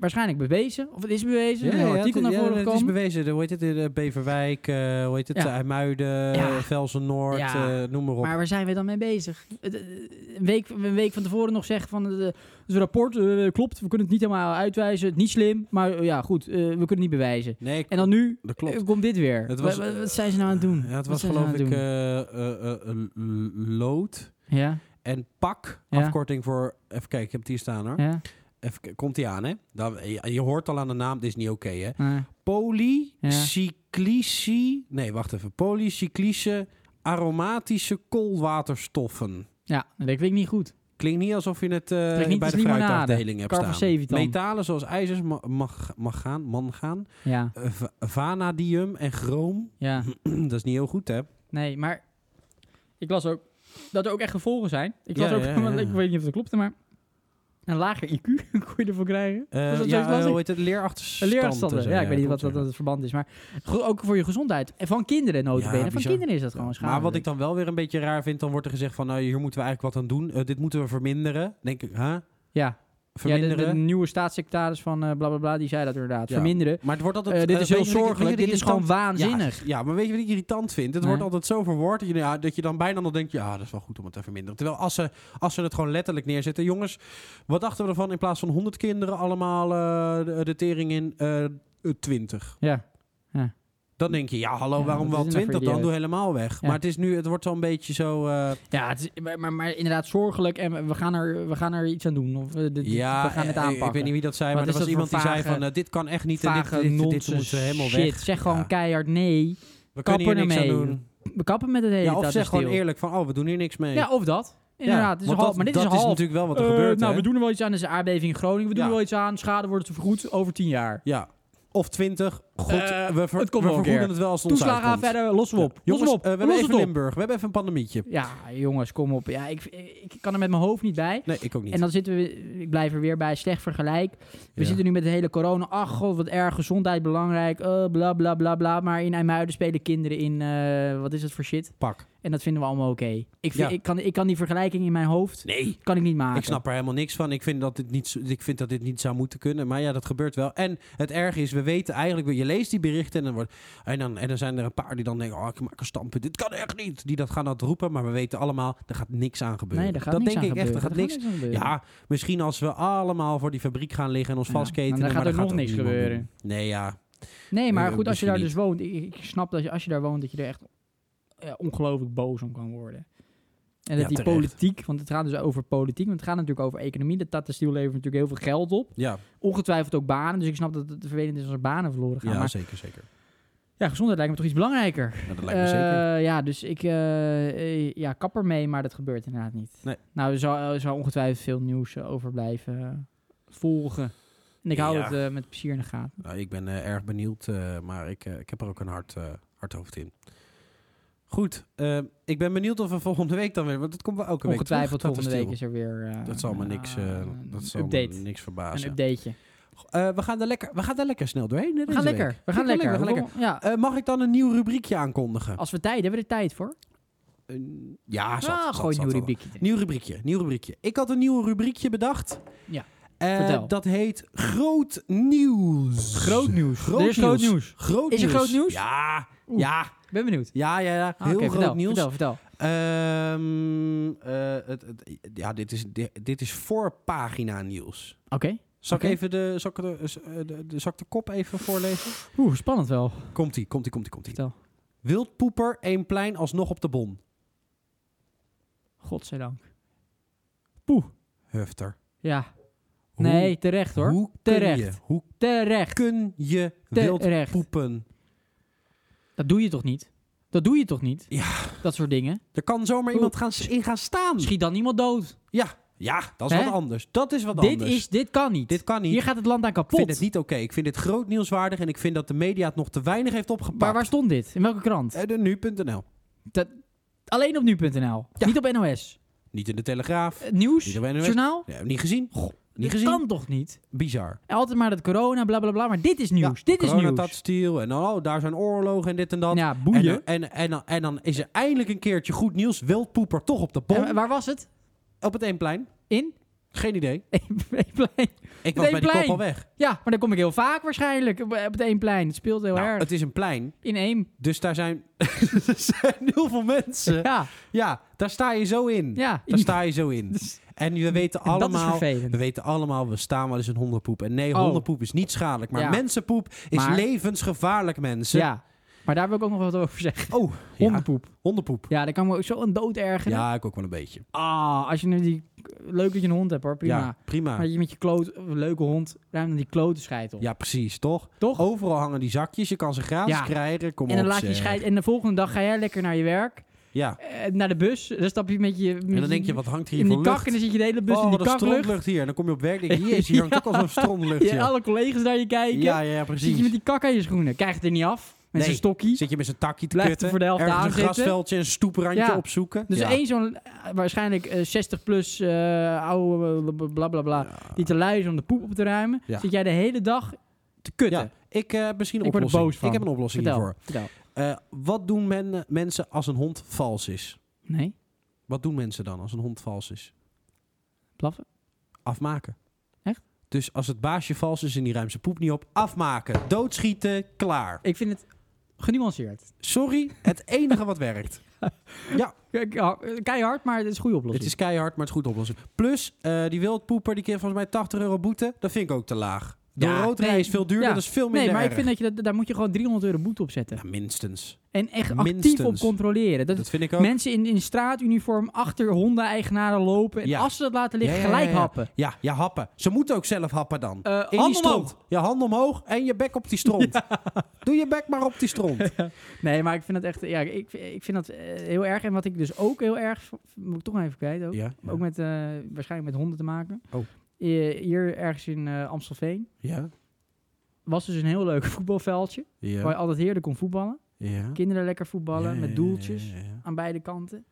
B: Waarschijnlijk bewezen, of het is bewezen. Er is een
A: het-
B: artikel naar voren
A: het is
B: gekomen.
A: bewezen. De- Hoe heet het? De Beverwijk, eh, hoe heet het?
B: Ja.
A: eh, IJmuiden,
B: Ja.
A: Velsen-Noord,
B: Ja.
A: eh, noem maar op.
B: maar waar zijn we dan mee bezig? Het, eh, Een week, een week van tevoren nog zeggen van eh, het is een rapport eh, klopt, we kunnen het niet helemaal uitwijzen. Het is Niet slim, maar eh, ja, goed, eh, we kunnen het niet bewijzen.
A: nee,
B: En dan nu
A: dat klopt.
B: eh, komt dit weer.
A: Het was,
B: Wa- wa- wat,
A: eh,
B: zijn ze nou aan het doen?
A: ja, het
B: Wat
A: was
B: zijn ze nou
A: geloof ik
B: aan het
A: eh, eh, eh, eh, l- lood
B: doen? ja,
A: en pak.
B: Ja.
A: Afkorting voor... Even kijken, ik heb het hier staan hoor.
B: ja.
A: Even, k- komt die aan hè? Dan, eh, je, je hoort al aan de naam, dit is niet oké hè?
B: eh, Ja.
A: Polycyclici... Nee, wacht even. Polycyclische aromatische koolwaterstoffen.
B: ja, dat klinkt niet goed.
A: Klinkt niet alsof je het eh,
B: niet
A: bij
B: als
A: de
B: limonade.
A: fruitafdeling hebt
B: Carver
A: staan.
B: Sevitan.
A: Metalen zoals ijzers, ma- mag, mag gaan, mangaan,
B: Ja,
A: eh, va- vanadium en chroom.
B: ja.
A: dat is niet heel goed, hè? Eh,
B: Nee, maar ik las ook dat er ook echt gevolgen zijn. Ik
A: Ja,
B: las ook,
A: ja, ja,
B: want
A: ja.
B: ik weet niet of dat klopte, maar een lager IQ kon je ervoor krijgen.
A: Eh,
B: Is dat
A: ja,
B: zoiets lastig?
A: eh, hoe heet het? Leerachterstanden.
B: Een leerachterstanden.
A: zei
B: Ja,
A: jij,
B: ik weet niet wat,
A: klopt,
B: wat
A: ja.
B: dat het verband is. Maar go- ook voor je gezondheid. En van kinderen notabene.
A: Ja,
B: van
A: bizar.
B: kinderen is dat gewoon
A: Maar
B: schadelijk.
A: wat ik dan wel weer een beetje raar vind, dan wordt er gezegd van... nou, hier moeten we eigenlijk wat aan doen. Eh, dit moeten we verminderen. Dan Denk ik, huh?
B: Ja, ja de-
A: Verminderen?
B: de, nieuwe staatssecretaris van eh bla bla bla, die zei dat inderdaad.
A: Ja.
B: Verminderen.
A: Maar het wordt altijd...
B: Eh, dit
A: eh,
B: is heel
A: weet je wat ik- weet
B: zorgelijk.
A: je
B: Dit is
A: wat ik
B: gewoon waanzinnig.
A: Ja, ja, maar weet je wat ik irritant vind? Het wordt
B: Nee.
A: altijd zo verwoord dat je, ja, dat je dan bijna nog denkt... ja, dat is wel goed om het te verminderen. Terwijl als ze, als ze het gewoon letterlijk neerzetten... jongens, wat dachten we ervan in plaats van 100 kinderen allemaal eh, de, de tering in eh, eh, 20?
B: Ja.
A: Dan denk je, ja, hallo,
B: Ja,
A: waarom
B: wat
A: wel
B: is het nou voor
A: 20? Dan
B: idioot?
A: doe helemaal weg.
B: Ja.
A: Maar het, is nu, het wordt zo'n beetje zo... eh,
B: Ja, het is, maar, maar, maar inderdaad zorgelijk. En we gaan er, we gaan er iets aan doen. Of we, dit-
A: ja,
B: we gaan het
A: eh,
B: aanpakken.
A: ik weet niet wie dat zei,
B: Wat
A: maar er
B: is
A: was
B: dat voor
A: iemand die zei
B: vage-
A: van... eh, dit kan echt niet en dit,
B: Vage
A: dit, dit, dit
B: nonsens
A: moeten we helemaal
B: shit.
A: weg.
B: Zeg gewoon
A: Ja.
B: keihard nee.
A: We kunnen hier
B: kap er
A: niks aan
B: mee.
A: doen.
B: We kappen met het hele
A: Ja, of
B: Tata
A: zeg gewoon
B: Steel.
A: eerlijk van, oh, we doen hier niks mee.
B: Ja, of dat. Inderdaad, het is
A: want
B: een
A: dat-
B: half, maar dit is
A: dat
B: een half.
A: natuurlijk wel wat er
B: Eh,
A: gebeurt,
B: nou,
A: hè?
B: we doen er wel iets aan. Er is een aardbeving in Groningen. We doen
A: Ja.
B: er wel iets aan. Schade wordt vergoed over tien jaar.
A: Ja. Of 20. God,
B: Eh,
A: we, ver,
B: het
A: we
B: komt wel een
A: vergoeden
B: keer.
A: het wel als het ons
B: Toeslagen aan
A: uitkomt.
B: verder, lossen we op.
A: Ja. Jongens,
B: lossen we
A: eh,
B: op.
A: we hebben
B: lossen
A: even
B: het op.
A: Limburg. We hebben even een pandemietje.
B: Ja, jongens, kom op. Ja, ik, ik kan er met mijn hoofd niet bij.
A: Nee, ik ook niet.
B: En dan zitten we, ik blijf er weer bij, slecht vergelijk. We
A: Ja.
B: zitten nu met de hele corona. Ach god, wat erg, gezondheid belangrijk, eh, bla bla bla bla. Maar in IJmuiden spelen kinderen in, eh, wat is dat voor shit?
A: Pak.
B: En dat vinden we allemaal oké. Ik, vind-
A: Ja.
B: ik, kan, ik kan die vergelijking in mijn hoofd,
A: Nee.
B: kan ik niet maken.
A: Ik snap er helemaal niks van. Ik vind, dat dit niet, zo- ik vind dat dit niet zou moeten kunnen. Maar ja, dat gebeurt wel. En het erg is, we weten eigenlijk... Je leest die berichten en dan, wordt, en dan, en dan zijn er een paar die dan denken... Oh, ik maak een standpunt. Dit kan echt niet. Die dat gaan dat roepen. Maar we weten allemaal, er gaat niks aan gebeuren.
B: Nee, daar gaat
A: dat
B: niks
A: denk
B: aan
A: ik echt. Er
B: gebeuren.
A: gaat
B: Daar
A: niks...
B: aan gebeuren.
A: Ja, misschien als we allemaal voor die fabriek gaan liggen en ons
B: Ja,
A: vastketen.
B: dan
A: vastketenen.
B: gaat
A: maar
B: er
A: dat
B: nog niks
A: ook niemand
B: gebeuren.
A: doen. Nee, ja.
B: Nee,
A: Eh,
B: maar goed, als je
A: misschien
B: daar
A: niet.
B: dus woont, ik, ik snap dat je, als je daar woont, dat je er echt ja, ongelooflijk boos om kan worden. En dat
A: Ja,
B: die
A: terecht.
B: politiek, want het gaat dus over politiek, want het gaat natuurlijk over economie. De Tata Steel levert natuurlijk heel veel geld op.
A: Ja,
B: Ongetwijfeld ook banen, dus ik snap dat het vervelend is als er banen verloren gaan.
A: ja
B: maar
A: zeker, zeker.
B: ja, gezondheid lijkt me toch iets belangrijker.
A: Ja, dat lijkt me
B: Eh,
A: zeker.
B: Ja, dus ik eh, eh, ja, kap er mee, maar dat gebeurt inderdaad niet.
A: Nee.
B: Nou, er zal, er zal ongetwijfeld veel nieuws eh, over blijven eh, volgen. En ik hou
A: Ja.
B: het eh, met plezier in de gaten.
A: Nou, ik ben eh, erg benieuwd, eh, maar ik, eh, ik heb er ook een hard, eh, hard hoofd in. Goed, eh, ik ben benieuwd of we volgende week dan weer... Want dat komt wel elke week
B: Ongetwijfeld
A: terug, dat
B: volgende week
A: is
B: is er weer eh,
A: stil. Dat zal me niks, eh,
B: eh,
A: dat zal
B: een update.
A: me niks
B: Een
A: verbazen.
B: updateje.
A: Eh, we, gaan er lekker, we gaan er lekker snel doorheen. hè,
B: We gaan
A: deze week.
B: lekker. We gaan lekker. Oh.
A: We gaan lekker.
B: Ja,
A: Eh, mag ik dan een nieuw rubriekje aankondigen?
B: als we tijd hebben, we er tijd voor.
A: Eh, ja, zat,
B: ah,
A: zat,
B: gooi
A: zat,
B: een nieuw
A: zat.
B: rubriekje.
A: Nieuw rubriekje, nieuw rubriekje. Ik had een nieuw rubriekje bedacht.
B: Ja,
A: Eh,
B: vertel.
A: Dat heet Groot Nieuws.
B: Groot nieuws.
A: Groot
B: Er is groot
A: nieuws.
B: nieuws.
A: Groot
B: Is er
A: nieuws.
B: groot nieuws?
A: Ja,
B: Oeh.
A: ja,
B: Ben benieuwd.
A: ja, ja. ja.
B: Ah,
A: Heel
B: oké,
A: groot
B: vertel,
A: nieuws.
B: Vertel, vertel.
A: Ehm, eh, het, het- ja, dit is, dit, dit is voorpagina nieuws.
B: Oké.
A: Zal
B: Oké.
A: ik even de, zal ik de, s- eh, de, de, zal ik de kop even voorlezen?
B: Oeh, spannend wel.
A: Komt-ie, komt-ie, komt-ie, komt-ie.
B: Vertel.
A: Wildpoeper, één plein, alsnog op de bon.
B: Godzijdank.
A: Hufter.
B: Ja.
A: Hoe-
B: Nee, terecht hoor.
A: Hoe
B: Terecht.
A: Kun je, hoe
B: Terecht.
A: kun je wild
B: Terecht.
A: poepen?
B: Dat doe je toch niet? Dat doe je toch niet?
A: Ja. Hm.
B: Dat soort dingen.
A: Er kan zomaar iemand
B: Oh.
A: gaan, s- in gaan staan.
B: Schiet dan iemand dood.
A: Ja, dat is
B: Hè?
A: wat anders. Dat is wat
B: Dit,
A: anders.
B: is, dit kan niet.
A: Dit kan niet.
B: Hier gaat het land aan
A: Ik
B: kapot.
A: vind het niet oké. Ik vind dit groot nieuwswaardig en ik vind dat de media het nog te weinig heeft opgepakt.
B: maar waar stond dit? In welke krant?
A: Eh, de nu.nl.
B: Dat, alleen op nu.nl.
A: Ja.
B: Niet op NOS.
A: Niet in de Telegraaf.
B: Het Eh, nieuws?
A: Niet op NOS.
B: Journaal?
A: Nee, niet gezien. niet
B: Dit
A: gezien.
B: kan toch niet?
A: Bizar.
B: Altijd maar dat corona, bla bla bla. Maar dit is nieuws. dit is nieuws.
A: Coronatastiel en oh, daar zijn oorlogen en dit en dat.
B: Ja,
A: en,
B: boeien.
A: en, eh, en, en, en dan is er eindelijk een keertje goed nieuws. Wildpoeper toch op de
B: En eh,
A: bom.
B: waar was het?
A: op het Eemplein.
B: In?
A: Geen idee.
B: Eénplein.
A: Ik was bij die kop
B: Eemplein.
A: al weg.
B: Ja, maar daar kom ik heel vaak waarschijnlijk. Op op het Eénplein. Het speelt heel
A: Nou,
B: erg.
A: het is een plein,
B: In Eem.
A: dus daar zijn, er zijn heel veel mensen.
B: Ja,
A: Ja, daar sta je zo in.
B: ja.
A: Daar sta je zo in.
B: Dus-
A: En we weten
B: en dat is
A: allemaal...
B: vervelend.
A: We weten allemaal, we staan wel eens in hondenpoep. En nee,
B: Oh.
A: hondenpoep is niet schadelijk. Maar
B: Ja.
A: mensenpoep is
B: Maar-
A: levensgevaarlijk, mensen.
B: Ja, maar daar wil ik ook nog wat over zeggen.
A: Oh, ja.
B: Hondenpoep.
A: hondenpoep.
B: Ja, daar kan me ook zo een dood ergeren.
A: Ja, ik ook wel een beetje.
B: Ah, als je nu die... Leuk dat je een hond hebt hoor, prima.
A: Ja, prima.
B: Maar je met je kloot, een leuke hond, ruim dan die klote scheid op.
A: Ja, precies, toch?
B: Toch?
A: Overal hangen die zakjes. Je kan ze gratis
B: Ja.
A: krijgen. Kom
B: en dan
A: op,
B: laat je
A: zeg.
B: scheid. En de volgende dag ga jij lekker naar je werk.
A: Ja.
B: eh, naar de bus. Dan stap je met je.
A: En dan denk je, wat hangt hier
B: in die
A: voor
B: kak.
A: lucht?
B: En dan zit je de hele bus
A: oh,
B: in
A: wat
B: die
A: een
B: kaklucht.
A: strontlucht hier. En dan kom je op werk en denk je, jezus, hier hangt ook al zo'n strontluchtje.
B: Je, alle collega's naar je kijken.
A: Ja, ja, ja,
B: zit je
A: precies.
B: met die kak aan je schoenen. Krijg het er niet af. Met
A: Nee.
B: zijn stokkie.
A: Zit je met zijn takje te
B: Blijft
A: kutten.
B: er voor de helft
A: ergens
B: aan
A: een
B: zitten.
A: grasveldje en een stoeprandje
B: Ja.
A: opzoeken.
B: Dus
A: Ja.
B: één zo'n eh, waarschijnlijk eh, 60 plus eh, oude eh, bla bla bla.
A: Ja.
B: Die te lui is om de poep op te ruimen.
A: Ja.
B: Zit jij de hele dag te kutten.
A: Ja, ik eh, misschien een
B: Ik word er
A: oplossing.
B: boos van.
A: Ik heb een oplossing
B: Vertel,
A: hiervoor.
B: vertel.
A: Eh, wat doen men, eh, mensen als een hond vals is?
B: Nee,
A: Wat doen mensen dan als een hond vals is?
B: blaffen.
A: Afmaken.
B: Echt?
A: Dus als het baasje vals is en die ruimt zijn poep niet op, afmaken. Doodschieten, klaar.
B: Ik vind het genuanceerd.
A: Sorry, het enige wat werkt.
B: Ke- ke- Keihard, maar het is een goede oplossing.
A: Het is keihard, maar het is goed oplossing. Plus, eh, die wildpoeper, die kreeg volgens mij 80 euro boete. Dat vind ik ook te laag. De
B: Ja,
A: rood rijden
B: nee.
A: is veel duurder,
B: Ja.
A: dat is veel minder
B: Nee, maar ik
A: erg.
B: vind dat je dat, daar moet je gewoon 300 euro boete op zetten.
A: Ja, minstens.
B: En echt actief
A: Minstens.
B: op controleren. Dat,
A: Dat vind ik ook.
B: mensen in, in straatuniform achter hondeneigenaren lopen. En
A: Ja.
B: als ze dat laten liggen,
A: Ja, ja, ja,
B: gelijk
A: ja.
B: happen.
A: Ja, ja, happen. Ze moeten ook zelf happen dan. In
B: Eh, hand
A: die
B: omhoog.
A: stront. Je hand omhoog en je bek op die stront. Doe je bek maar op die stront.
B: Nee, maar ik vind dat echt ja, ik, ik vind dat eh, heel erg. En wat ik dus ook heel erg, v- moet ik toch nog even kwijt ook.
A: Ja,
B: Ook met, eh, waarschijnlijk met honden te maken.
A: Oh.
B: Eh, hier ergens in eh, Amstelveen
A: ja,
B: was dus een heel leuk voetbalveldje. Waar
A: ja,
B: je altijd heerlijk kon voetballen. Kinderen lekker voetballen met doeltjes aan beide kanten.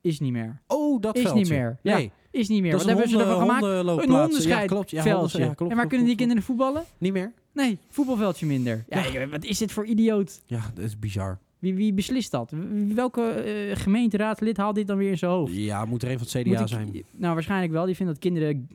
B: Is niet meer.
A: Oh, dat
B: Is
A: veldje.
B: niet meer. Ja,
A: Nee,
B: Is niet meer.
A: dat
B: Wat
A: is een
B: hebben ze ervan
A: honden,
B: gemaakt?
A: hondenloopplaats.
B: Een hondenscheidveldje.
A: Ja, klopt. Ja, honden- ja, klopt,
B: en waar
A: klopt,
B: kunnen die
A: klopt,
B: kinderen voetballen?
A: klopt. Niet meer?
B: Nee, voetbalveldje minder. Ja, joh, wat is dit voor idioot?
A: Ja, dat is bizar.
B: Wie, wie beslist dat? Wie- Welke eh, gemeenteraadslid haalt dit dan weer in zijn hoofd?
A: Ja, moet er een van het
B: Moet
A: CDA
B: ik-
A: zijn.
B: Nou, waarschijnlijk wel. Die vinden dat kinderen g-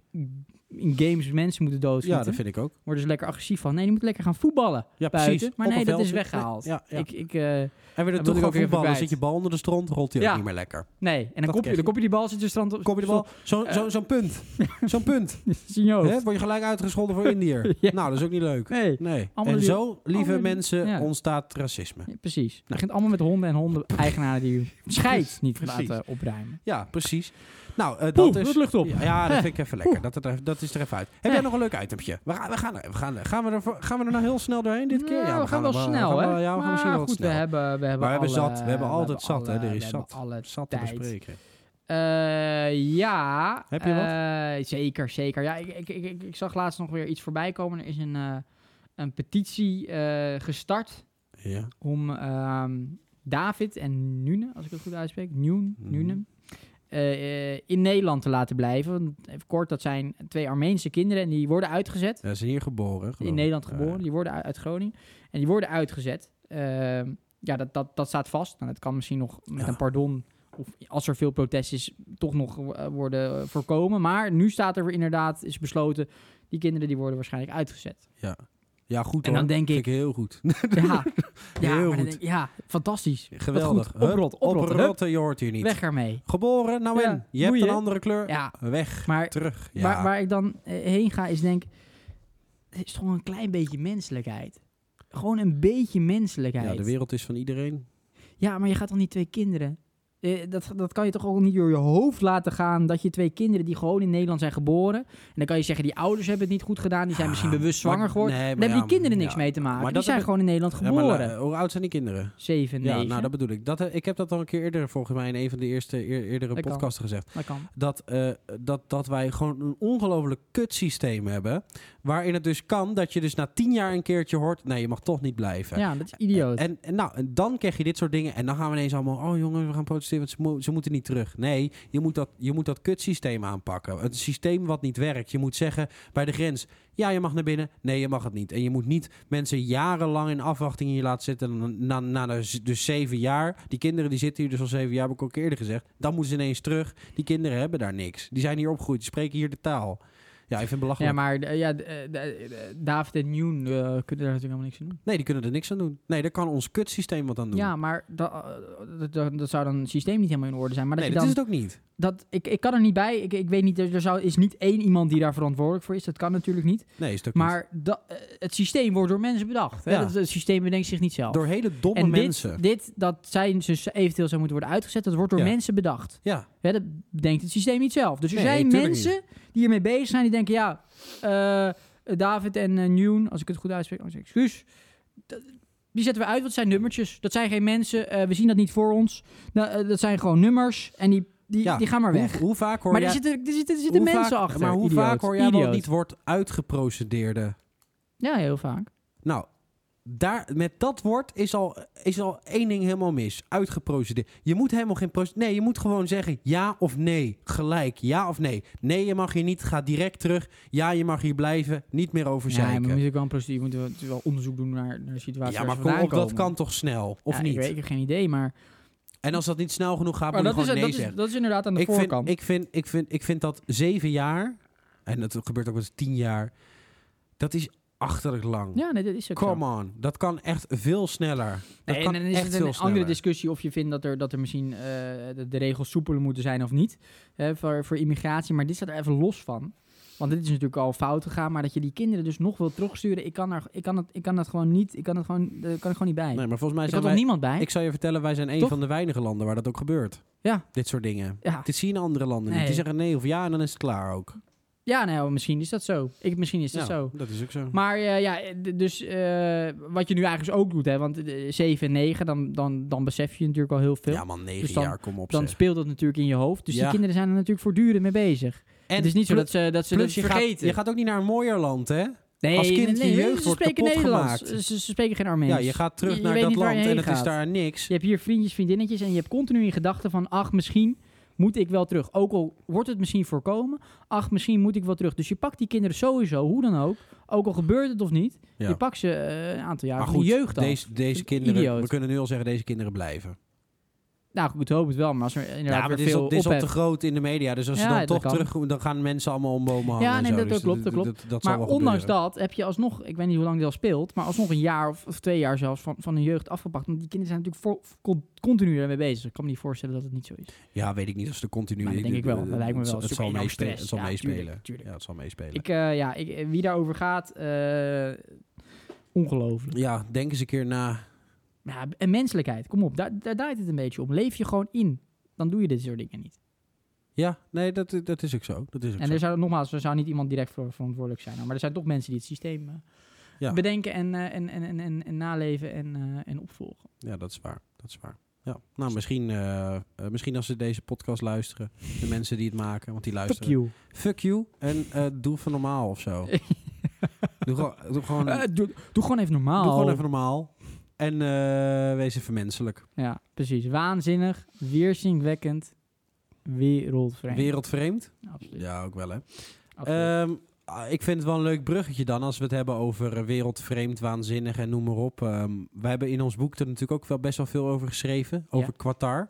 B: in games mensen moeten
A: Ja,
B: doodschieten.
A: dat vind ik ook.
B: Worden ze lekker agressief van. Nee, die moeten lekker gaan voetballen
A: Ja,
B: buiten.
A: precies.
B: Maar
A: Op
B: nee,
A: een
B: dat is
A: veldje.
B: weggehaald.
A: Ja, ja.
B: Ik, ik, eh,
A: En weer
B: Dat
A: de
B: wil ik
A: toch
B: ook
A: gaan
B: even
A: voetballen.
B: kwijt.
A: Zit je bal onder de stront, rolt hij
B: Ja.
A: ook niet meer lekker.
B: nee, en dan
A: Dat
B: kop,
A: krijg
B: je,
A: je.
B: dan kop je die bal zit je strand op.
A: Kom je de bal? Zo'n
B: Eh.
A: zo, zo'n punt. Zo'n punt.
B: in je hoofd.
A: Hè? Word je gelijk uitgescholden voor Indiër.
B: Ja.
A: Nou, dat is ook niet leuk.
B: Nee,
A: Nee.
B: Allemaal
A: en
B: die-
A: zo, lieve
B: allemaal die-
A: mensen,
B: ja.
A: ontstaat racisme.
B: Ja, precies. Het begint allemaal met honden en honden-eigenaren die je scheid niet
A: Precies.
B: laten opruimen.
A: Ja, precies. Nou, eh,
B: Poeh,
A: dat is...
B: dat lucht op.
A: Ja, ja, dat vind ik even lekker.
B: Oeh.
A: Dat, er- dat is er even uit. Heb jij
B: Ja.
A: nog een leuk itempje? We gaan, we gaan, er- we gaan, er- gaan, we er, voor- gaan we er nou heel snel doorheen dit keer?
B: Nou, we, gaan wel
A: er
B: snel,
A: gaan
B: hè?
A: wel- Ja, we gaan
B: maar
A: misschien wel wat
B: goed,
A: snel.
B: we hebben, we hebben
A: Maar we hebben
B: alle-
A: zat. We hebben altijd zat, hè?
B: alle-
A: Er is
B: we hebben
A: zat.
B: alle
A: Zat te
B: tijd.
A: bespreken.
B: Eh, ja.
A: Heb je wat?
B: eh, zeker, zeker. Ja, ik, ik, ik, ik, ik zag laatst nog weer iets voorbij komen. Er is een, eh, een petitie eh, gestart
A: Ja.
B: om ehm, David en Nune, als ik het goed uitspreek, Nune,
A: Mhm.
B: Nune, eh, eh, in Nederland te laten blijven. Want even kort, dat zijn twee Armeense kinderen en die worden uitgezet.
A: Ja, ze zijn hier geboren. geloof
B: in
A: ik.
B: Nederland
A: Ja.
B: geboren, die worden uit, uit Groningen. En die worden uitgezet. Ehm, ja, dat, dat, dat staat vast. Nou, dat kan misschien nog met
A: Ja.
B: een pardon, of als er veel protest is, toch nog eh, worden eh, voorkomen. Maar nu staat er inderdaad, is besloten, die kinderen die worden waarschijnlijk uitgezet.
A: Ja. ja, goed
B: En
A: hoor.
B: dan denk
A: Vind
B: ik-
A: heel goed.
B: Ja, ja,
A: Heel
B: maar dan
A: goed.
B: denk ik, ja fantastisch. Wat
A: Geweldig.
B: Goed.
A: Hup,
B: Oprot, oprot, hup,
A: Oprotten, je hoort hier niet.
B: weg ermee.
A: Geboren, nou en.
B: Ja,
A: je hebt
B: boeien.
A: een andere kleur.
B: Ja,
A: Weg,
B: maar
A: terug. Ja.
B: waar, waar ik dan eh, heen ga is denk, het is toch een klein beetje menselijkheid. Gewoon een beetje menselijkheid.
A: ja, de wereld is van iedereen.
B: Ja, maar je gaat toch niet twee kinderen? Eh, dat, dat kan je toch ook niet door je hoofd laten gaan dat je twee kinderen die gewoon in Nederland zijn geboren. En dan kan je zeggen, die ouders hebben het niet goed gedaan, die zijn misschien
A: Ja,
B: bewust
A: Ah, maar-
B: zwanger geworden.
A: nee,
B: Daar
A: maar
B: hebben
A: ja,
B: die kinderen niks
A: ja.
B: mee te maken.
A: Maar
B: die
A: dat
B: zijn
A: heb
B: gewoon in Nederland
A: Ja, maar,
B: geboren.
A: eh, hoe oud zijn die kinderen?
B: Zeven,
A: Ja,
B: negen.
A: nou, dat bedoel ik. Dat, eh, ik heb dat al een keer eerder, volgens mij, in een van de eerste, eer- eerdere
B: Dat kan.
A: podcasten gezegd.
B: dat kan.
A: dat, eh, dat, dat wij gewoon een ongelooflijk kutsysteem hebben. Waarin het dus kan dat je dus na tien jaar een keertje hoort... nee, je mag toch niet blijven.
B: Ja, dat is idioot.
A: En, en, nou, en dan krijg je dit soort dingen. En dan gaan we ineens allemaal... oh jongens, we gaan protesteren, want ze, mo- ze moeten niet terug. Nee, je moet, dat, je moet dat kutsysteem aanpakken. Het systeem wat niet werkt. Je moet zeggen bij de grens... ja, je mag naar binnen. Nee, je mag het niet. En je moet niet mensen jarenlang in afwachting hier laten zitten. En dan Na, na, de z- dus zeven jaar... die kinderen die zitten hier dus al zeven jaar... heb ik ook eerder gezegd. Dan moeten ze ineens terug. Die kinderen hebben daar niks. Die zijn hier opgegroeid. Die spreken hier de taal. Ja, ik vind het belachelijk.
B: ja, maar eh, ja, eh, eh, David en Newton eh, kunnen daar natuurlijk helemaal niks aan doen.
A: Nee, die kunnen er niks aan doen. Nee, daar kan ons kutsysteem wat aan doen.
B: Ja, maar dat, eh, dat, dat, dat zou dan het systeem niet helemaal in orde zijn. Maar dat
A: nee,
B: je
A: dat
B: dan
A: is het ook niet.
B: dat, ik, ik kan er niet bij. Ik, ik weet niet, er, er zou, is niet één iemand die daar verantwoordelijk voor is. Dat kan natuurlijk niet.
A: Nee, is het ook niet.
B: Maar da- eh, het systeem wordt door mensen bedacht. Hè?
A: Ja.
B: Dat, het systeem bedenkt zich niet zelf.
A: Door hele domme
B: en dit,
A: mensen.
B: dit, dat zij dus eventueel zou moeten worden uitgezet, dat wordt door
A: Ja.
B: mensen bedacht.
A: Ja,
B: Hè? Dat bedenkt het systeem niet zelf. Dus er
A: Nee,
B: zijn
A: tuurlijk
B: mensen die hiermee bezig zijn, die denken, ja, eh, David en eh, Newton, als ik het goed uitspreek, oh, excuus. Dat- die zetten we uit, want het zijn nummertjes. Dat zijn geen mensen, eh, we zien dat niet voor ons. Nou, eh, dat zijn gewoon nummers en die, die,
A: Ja,
B: die gaan maar weg.
A: Hoe, hoe vaak hoor
B: maar
A: jij...
B: er zitten, er zitten, er
A: hoe
B: zitten mensen
A: vaak-
B: achter.
A: Maar hoe
B: Idioot.
A: vaak hoor jij wel
B: Idioot.
A: niet wordt uitgeprocedeerde?
B: Ja, heel vaak.
A: Nou, daar, met dat woord is al, is al één ding helemaal mis. Uitgeprocedeerd. Je moet helemaal geen... proce- Nee, je moet gewoon zeggen ja of nee. Gelijk, ja of nee. Nee, je mag hier niet. Ga direct terug. Ja, je mag hier blijven. Niet meer over
B: Ja, maar
A: zeiken.
B: moet je ook wel een procedure, je moet wel, natuurlijk wel onderzoek doen naar, naar de situatie.
A: Ja,
B: waar
A: maar
B: ze
A: kom
B: vandaan
A: op, dat
B: komen.
A: kan toch snel? Of
B: Ja,
A: niet?
B: Ik weet ik heb geen idee, maar,
A: En als dat niet snel genoeg gaat,
B: maar
A: moet
B: dat,
A: je
B: is,
A: gewoon nee
B: dat, is,
A: zeggen.
B: dat is inderdaad aan de
A: ik
B: voorkant.
A: vind, ik, vind, ik, vind, ik vind dat zeven jaar, en dat gebeurt ook wel eens tien jaar, dat is achterlijk lang.
B: ja, nee, dat is ook zo.
A: Come on, dat kan echt veel sneller. Dat
B: Nee, en
A: kan
B: dan is
A: echt
B: het een
A: veel
B: andere
A: sneller.
B: discussie of je vindt dat er, dat er misschien eh, de, de regels soepeler moeten zijn of niet. Hè, voor, voor immigratie, maar dit staat er even los van. Want dit is natuurlijk al fout gegaan, maar dat je die kinderen dus nog wil terugsturen, ik kan, daar, ik kan, het, ik kan dat gewoon niet, ik kan, het gewoon, eh, kan er gewoon niet bij.
A: Nee, maar volgens mij
B: ik
A: zijn
B: had
A: wij...
B: er niemand bij.
A: Ik zal je vertellen, wij zijn een
B: Toch?
A: van de weinige landen waar dat ook gebeurt.
B: Ja.
A: Dit soort dingen.
B: ja.
A: Dit zien andere landen niet.
B: Nee.
A: Die zeggen nee of ja en dan is het klaar ook.
B: ja, nou, misschien is dat zo. Ik, misschien is dat
A: ja,
B: zo.
A: Dat is ook zo.
B: Maar eh, ja, eh, d- dus eh, wat je nu eigenlijk ook doet, hè, want eh, 7 en 9, dan, dan, dan besef je natuurlijk al heel veel.
A: ja man, negen
B: Dus dan-
A: jaar, kom op
B: dan
A: zeg.
B: speelt dat natuurlijk in je hoofd. Dus
A: Ja.
B: die kinderen zijn er natuurlijk voortdurend mee bezig. En het is niet zo
A: plu-
B: dat ze dat, ze dus
A: plus,
B: dat
A: je gaat,
B: vergeten.
A: je gaat ook niet naar een mooier land, hè?
B: nee,
A: als kind je jeugd
B: ze
A: wordt
B: spreken
A: kapot
B: Nederlands.
A: gemaakt.
B: Ze, ze spreken geen Armeens.
A: Ja, je gaat terug
B: Je- je
A: naar
B: weet
A: dat
B: niet waar je
A: land en
B: heen
A: het is
B: gaat.
A: daar niks.
B: Je hebt hier vriendjes, vriendinnetjes en je hebt continu in gedachten van... ach, misschien moet ik wel terug. Ook al wordt het misschien voorkomen, ach, misschien moet ik wel terug. Dus je pakt die kinderen sowieso, hoe dan ook. Ook al gebeurt het of niet,
A: Ja.
B: je pakt ze eh, een aantal jaren
A: Maar
B: van je
A: goed,
B: jeugd af.
A: deze, deze
B: Vind ik
A: kinderen,
B: idioot.
A: we kunnen nu al zeggen, deze kinderen blijven.
B: Nou, goed, ik hoop het wel, maar als er inderdaad
A: Ja, maar
B: weer
A: dit is,
B: veel
A: al, dit is al te
B: ophef-
A: groot in de media. Dus als
B: Ja,
A: ze dan
B: dat
A: toch
B: kan.
A: terug... dan gaan mensen allemaal om bomen hangen
B: Ja,
A: en
B: nee,
A: zo.
B: dat- dat
A: Dus
B: klopt, dat klopt.
A: Dat, dat zal
B: Maar
A: wel
B: ondanks
A: gebeuren.
B: dat heb je alsnog, ik weet niet hoe lang die al speelt, maar alsnog een jaar of, of twee jaar zelfs van, van hun jeugd afgepakt. Want die kinderen zijn natuurlijk voor, con- continu daarmee bezig. Ik kan me niet voorstellen dat het niet zo is.
A: Ja, weet ik niet of ze er continu...
B: Maar dat denk ik wel. Dat lijkt me
A: het
B: wel.
A: zal- Het
B: Zoek
A: zal
B: enorm
A: meespelen.
B: stress.
A: Het zal
B: Ja,
A: meespelen.
B: tuurlijk, tuurlijk.
A: Ja, het zal meespelen.
B: Ik, eh, ja, ik, eh, wie daarover gaat, eh, ongelooflijk.
A: Ja, denk eens een keer na.
B: Ja, en menselijkheid, kom op, daar, daar draait het een beetje om. Leef je gewoon in, dan doe je dit soort dingen niet.
A: Ja, nee, dat, dat is ook zo. Dat is ook
B: En dus-
A: zo.
B: er zou nogmaals, er zou niet iemand direct voor verantwoordelijk zijn. Maar er zijn toch mensen die het systeem eh,
A: Ja.
B: bedenken en, eh, en, en, en, en, en naleven en, eh, en opvolgen.
A: Ja, dat is waar. Dat is waar. Ja. Nou, misschien, eh, eh, misschien als ze deze podcast luisteren. De mensen die het maken, want die
B: Fuck
A: luisteren.
B: you.
A: Fuck you. En eh, doe van normaal of zo. doe, gewoon- doe gewoon...
B: Eh, doe, doe gewoon even Eh, normaal.
A: Doe gewoon even normaal. En eh, wees even menselijk.
B: Ja, precies. Waanzinnig, weerzinwekkend, wereldvreemd.
A: Wereldvreemd?
B: Absoluut.
A: Ja, ook wel hè.
B: absoluut.
A: Ehm, ah, ik vind het wel een leuk bruggetje dan als we het hebben over eh, wereldvreemd, waanzinnig en noem maar op. Ehm, we hebben in ons boek er natuurlijk ook wel best wel veel over geschreven,
B: Ja.
A: over Qatar.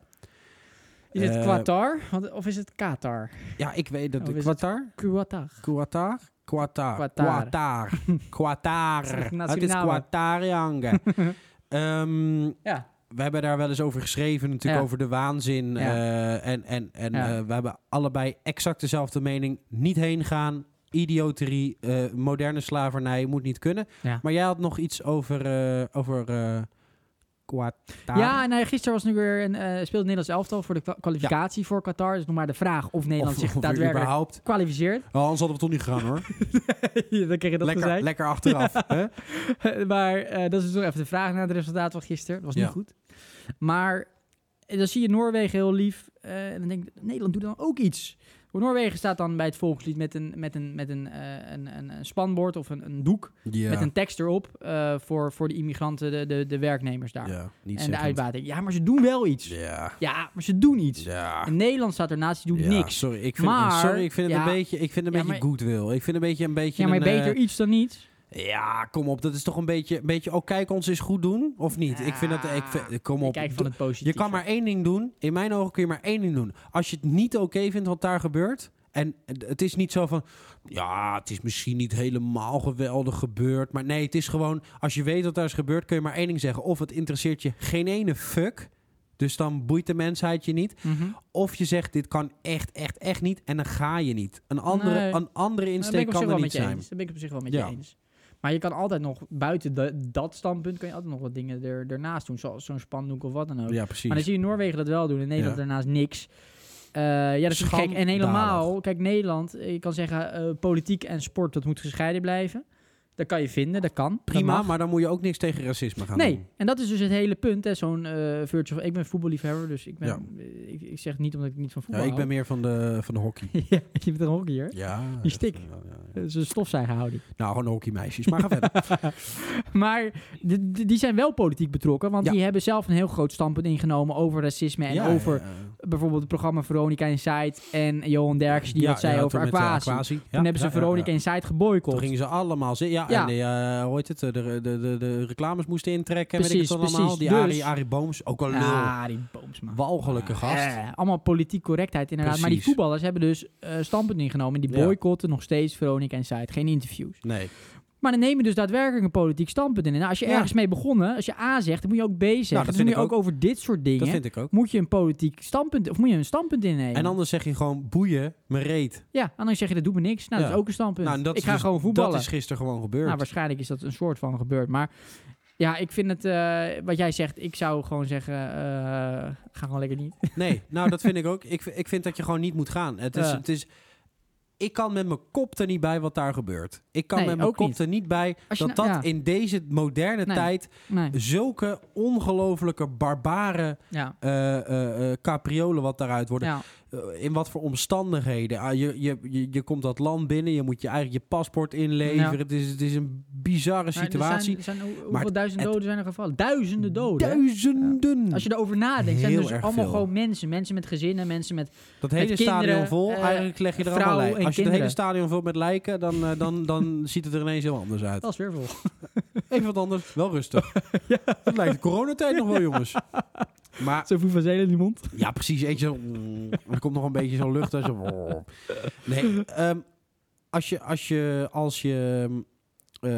B: is het
A: eh,
B: Qatar Want- of is het Qatar?
A: Ja, ik weet dat.
B: Of Oh, is het-
A: Qatar?
B: Qatar.
A: Qatar? Qatar.
B: Qatar.
A: Qatar. Qatar.
B: Dat is echt
A: Het is
B: nationaal.
A: Qatar, Jange. Ehm,
B: Ja,
A: we hebben daar wel eens over geschreven, natuurlijk
B: Ja.
A: over de waanzin.
B: Ja.
A: eh, en en, en
B: Ja.
A: eh, we hebben allebei exact dezelfde mening. Niet heen gaan, idioterie, eh, moderne slavernij, moet niet kunnen.
B: Ja.
A: Maar jij had nog iets over, eh over eh Qatar.
B: ja nou, gisteren was nu weer een, eh, speelde het Nederlands elftal voor de kwa- kwalificatie voor Qatar. Dus nog maar de vraag of Nederland
A: of,
B: zich
A: of
B: daadwerkelijk
A: überhaupt.
B: kwalificeert.
A: Oh, anders hadden we toch niet gegaan hoor.
B: Dan kreeg je dat te
A: lekker,
B: zijn.
A: lekker achteraf. hè?
B: maar eh, dat is nog even de vraag naar het resultaat van gisteren. Dat was
A: Ja.
B: niet goed. Maar eh, dan zie je Noorwegen heel lief. eh, en dan denk ik, Nederland doet dan ook iets. Want Noorwegen staat dan bij het volkslied met een, met een, met een, eh, een, een, een spanbord of een, een doek
A: Ja.
B: met een tekst erop eh, voor, voor de immigranten, de, de, de werknemers daar.
A: Ja, niet
B: en de
A: zeggend.
B: uitbating. Ja, maar ze doen wel iets.
A: Ja,
B: Ja, maar ze doen iets.
A: ja.
B: En Nederland staat ernaast, die doet
A: Ja,
B: niks.
A: Sorry, ik vind,
B: Maar-
A: sorry, ik vind het
B: ja.
A: een beetje, ik vind het een
B: Ja,
A: beetje
B: maar-
A: goodwill. Ik vind een beetje een beetje.
B: Ja, maar
A: een,
B: beter iets dan niets.
A: eh, ja, kom op. Dat is toch een beetje, een beetje. Oh, kijk, ons is goed doen of niet? Ik vind dat. Ik vind, kom
B: Ik
A: op.
B: Kijk van het
A: je
B: positieve.
A: kan maar één ding doen. In mijn ogen kun je maar één ding doen. Als je het niet oké vindt wat daar gebeurt. En het is niet zo van, ja, het is misschien niet helemaal geweldig gebeurd. Maar nee, het is gewoon, als je weet wat daar is gebeurd, kun je maar één ding zeggen. Of het interesseert je geen ene fuck. Dus dan boeit de mensheid je niet.
B: Mhm.
A: Of je zegt, dit kan echt, echt, echt niet. En dan ga je niet. Een andere,
B: Nee.
A: een andere
B: Dat ben
A: insteek
B: ik op zich
A: kan er
B: wel
A: niet
B: met je
A: zijn.
B: eens. Dat ben ik op zich wel met
A: Ja.
B: je eens. Maar je kan altijd nog, buiten de- dat standpunt, kan je altijd nog wat dingen er, ernaast doen. Zoals zo'n spandoek of wat dan ook.
A: Ja,
B: maar dan
A: precies.
B: zie je Noorwegen dat wel doen en Nederland
A: Ja.
B: daarnaast niks. Eh, ja, dat is natuurlijk gek. En
A: Schandalig.
B: helemaal, kijk, Nederland, eh, je kan zeggen, eh, politiek en sport, dat moet gescheiden blijven. Dat kan je vinden, dat kan. dat
A: Prima,
B: mag.
A: maar dan moet je ook niks tegen racisme gaan
B: Nee,
A: doen.
B: en dat is dus het hele punt, hè, zo'n eh virtual... Ik ben voetballiefhebber, dus ik, ben, ik, ik zeg het niet omdat ik niet van
A: Ja,
B: voetbal
A: ik ben
B: hou.
A: meer van de, van de hockey.
B: ja, je bent een hockeyer.
A: Ja.
B: Die stik.
A: ja, ja, ja.
B: Dat is een stofzuigerhouding.
A: Nou, gewoon hockeymeisjes. Maar ga verder.
B: Maar de- de- die zijn wel politiek betrokken, want
A: Ja.
B: die hebben zelf een heel groot standpunt ingenomen over racisme en
A: Ja,
B: over
A: ja, ja.
B: bijvoorbeeld het programma Veronica Insight en Johan Derksen die
A: Ja,
B: dat zei
A: ja,
B: over
A: toen met, eh,
B: Aquasi.
A: Aquasi. Ja,
B: Toen hebben ze
A: ja, ja,
B: Veronica
A: ja.
B: Insight
A: Toen
B: geboycott.
A: gingen ze allemaal zitten. Ja,
B: Ja.
A: en die, eh, hoe heet het? eh, De, de, de, de reclames moesten intrekken. weet ik
B: Precies,
A: het allemaal.
B: precies.
A: Die
B: Dus-
A: Arie, Arie Booms. Ook al lul.
B: Ah, die boomsma.
A: Walgelijke gast.
B: Eh, allemaal politiek correctheid inderdaad. Maar die
A: Precies.
B: voetballers hebben dus eh, standpunt ingenomen. En die
A: Ja.
B: boycotten nog steeds Veronica Insight. Geen interviews.
A: Nee.
B: Maar dan neem je dus daadwerkelijk een politiek standpunt in. En nou, als je
A: Ja. Nou,
B: ergens mee begonnen, als je A zegt, dan moet je ook B zeggen.
A: dat
B: dus
A: vind
B: moet je
A: ik
B: ook over dit soort dingen,
A: Dat vind ik ook.
B: moet je een politiek standpunt, of moet je een standpunt innemen.
A: En anders zeg je gewoon boeien, mijn reet.
B: Ja, anders zeg je, dat doet me niks. Nou, dat
A: Ja.
B: is ook een standpunt.
A: Nou, en dat
B: ik
A: is
B: ga
A: dus-
B: gewoon voetballen.
A: Dat is gisteren gewoon gebeurd.
B: Nou, waarschijnlijk is dat een soort van gebeurd. Maar ja, ik vind het, eh, wat jij zegt, ik zou gewoon zeggen, eh, ga gewoon lekker niet.
A: Nee, nou dat vind ik ook. Ik, ik vind dat je gewoon niet moet gaan. Het is,
B: Ja.
A: het is, ik kan met mijn kop er niet bij wat daar gebeurt. Ik kan
B: Nee,
A: met mijn
B: ook
A: kop
B: niet.
A: er niet bij
B: Als
A: dat
B: je
A: dat
B: nou- ja.
A: in deze moderne
B: Nee.
A: tijd
B: Nee,
A: zulke ongelofelijke barbaren
B: ja.
A: eh, eh, eh, capriolen wat daaruit worden.
B: ja.
A: Eh, in wat voor omstandigheden. Ah, je, je, je, je komt dat land binnen, je moet je eigen je paspoort inleveren.
B: Ja.
A: Het, is, het is een bizarre
B: Maar er
A: situatie.
B: zijn, er zijn hoe-
A: Maar
B: hoeveel duizend
A: het-
B: doden zijn er gevallen? Duizenden doden. hè?
A: Duizenden.
B: Als je erover nadenkt, zijn
A: Heel
B: er dus
A: erg
B: allemaal
A: veel.
B: gewoon mensen. Mensen met gezinnen, mensen met...
A: Dat hele
B: Met
A: stadion
B: kinderen,
A: vol,
B: eh,
A: eigenlijk leg je er
B: vrouwen
A: allemaal
B: en
A: lijken. Als je het hele
B: kinderen.
A: stadion vult met lijken, dan, eh, dan, dan ziet het er ineens heel anders uit.
B: Dat is weer vol.
A: Even wat anders, wel rustig. Het lijkt de coronatijd nog wel, jongens. Maar
B: Zo van zelen in die mond.
A: ja, precies. Eentje zo, er komt nog een beetje zo'n lucht uit. Zo, nee, ehm, als, je, als, je, als, je, eh,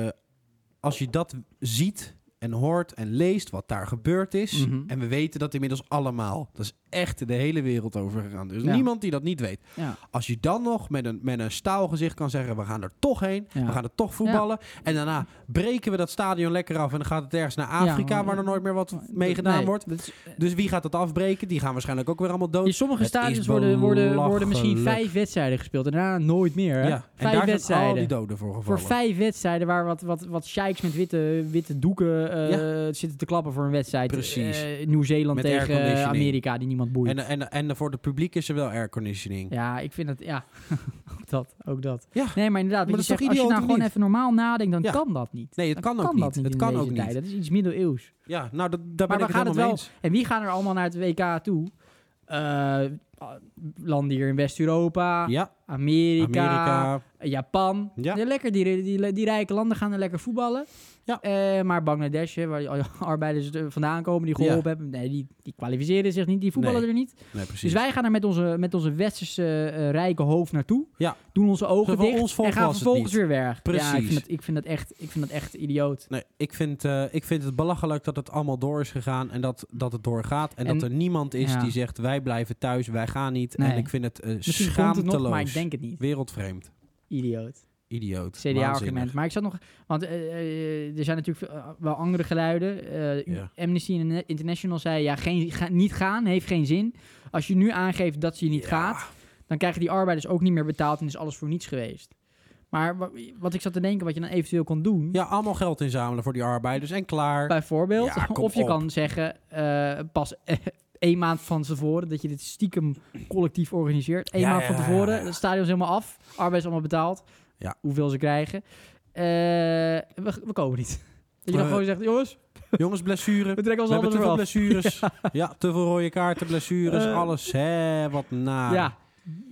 A: als je dat ziet en hoort en leest wat daar gebeurd is...
B: Mhm.
A: en we weten dat inmiddels allemaal. Dat is echt de hele wereld over gegaan. Er is
B: Ja.
A: niemand die dat niet weet.
B: Ja.
A: Als je dan nog met een, met een staal gezicht kan zeggen: we gaan er toch heen,
B: Ja.
A: we gaan er toch voetballen. En daarna breken we dat stadion lekker af en dan gaat het ergens naar Afrika,
B: maar-
A: waar er nooit meer wat mee gedaan
B: Nee,
A: wordt.
B: dat is-
A: Dus wie gaat dat afbreken? Die gaan waarschijnlijk ook weer allemaal dood.
B: In sommige
A: Het is
B: stadions worden, worden, worden misschien
A: belachelijk.
B: vijf wedstrijden gespeeld. En daarna nooit meer. Hè?
A: Ja, en
B: Vijf
A: daar zijn al
B: wedstrijden.
A: die doden voor gevallen.
B: Voor vijf wedstrijden waar wat, wat, wat sheiks met witte, witte doeken eh, eh, zitten te klappen voor een wedstrijd.
A: Precies.
B: Eh, Nieuw-Zeeland
A: Met
B: tegen eh,
A: airconditioning.
B: Amerika, die niemand boeit.
A: En, en, en voor het publiek is er wel airconditioning.
B: Ja, ik vind het, ja, ook dat, ook dat.
A: Ja.
B: Nee, maar inderdaad,
A: Maar
B: wat je
A: dat is toch
B: zegt, als je
A: idioot
B: nou
A: of
B: gewoon
A: niet?
B: even normaal nadenkt, dan
A: Ja.
B: kan dat niet.
A: Nee, het
B: Dan
A: kan ook niet. Het
B: in
A: kan
B: deze
A: ook
B: tijd.
A: niet.
B: Dat is iets middeleeuws.
A: Ja, nou, dat, daar ben
B: Maar we
A: ik het
B: gaan het
A: helemaal mee
B: wel.
A: eens.
B: En wie gaan er allemaal naar het WK toe? Eh, landen hier in West-Europa,
A: Ja,
B: Amerika,
A: Amerika.
B: Japan.
A: Ja.
B: Ja, lekker, die, die, die rijke landen gaan er lekker voetballen.
A: Ja.
B: Eh, maar Bangladesh, hè, waar die al je arbeiders eh, vandaan komen die geholpen hebben, nee, die, die kwalificeren zich niet, die voetballen
A: Nee,
B: er niet.
A: Nee, precies.
B: Dus wij gaan er met onze, met onze westerse eh, rijke hoofd naartoe.
A: Ja.
B: Doen onze ogen
A: Zo van,
B: dicht
A: ons volk
B: en gaan
A: was het
B: vervolgens
A: niet.
B: weer weg. Ja, ik
A: Precies.
B: vind dat, ik vind dat, echt, ik vind dat echt idioot.
A: Nee, ik vind, eh, ik vind het belachelijk dat het allemaal door is gegaan en dat, dat het doorgaat. En,
B: En-
A: dat er niemand is
B: ja.
A: die zegt, wij blijven thuis, wij gaan niet.
B: Nee.
A: En ik vind het eh,
B: Misschien komt het
A: schaamteloos.
B: nog, maar ik denk het niet.
A: Wereldvreemd.
B: Idioot.
A: Idioot. Waanzinnig.
B: CDA-argument. Maar ik zat nog... Want eh, eh, er zijn natuurlijk eh, wel andere geluiden. Eh,
A: Ja.
B: Amnesty International zei... Ja, geen, ga- niet gaan heeft geen zin. Als je nu aangeeft dat ze je niet
A: Ja.
B: gaat... dan krijgen die arbeiders ook niet meer betaald... en is alles voor niets geweest. Maar wa- wat ik zat te denken... wat je dan eventueel kon doen...
A: Ja, allemaal geld inzamelen voor die arbeiders en klaar.
B: bijvoorbeeld...
A: Ja, kom
B: of je
A: op.
B: kan zeggen... eh, pas... één maand van tevoren, dat je dit stiekem collectief organiseert. Eén
A: Ja,
B: maand
A: ja,
B: van
A: ja,
B: tevoren,
A: ja, ja.
B: het stadion is helemaal af. Arbeid is allemaal betaald.
A: Ja.
B: Hoeveel ze krijgen. Eh, we, we komen niet. Dat je dan
A: Eh,
B: gewoon zegt, jongens,
A: Jongens, blessure.
B: we trekken
A: We
B: ons
A: hebben
B: altijd
A: te veel
B: eraf.
A: blessures. ja. te veel rode kaarten, blessures,
B: Eh.
A: alles. Hè, wat na.
B: Ja,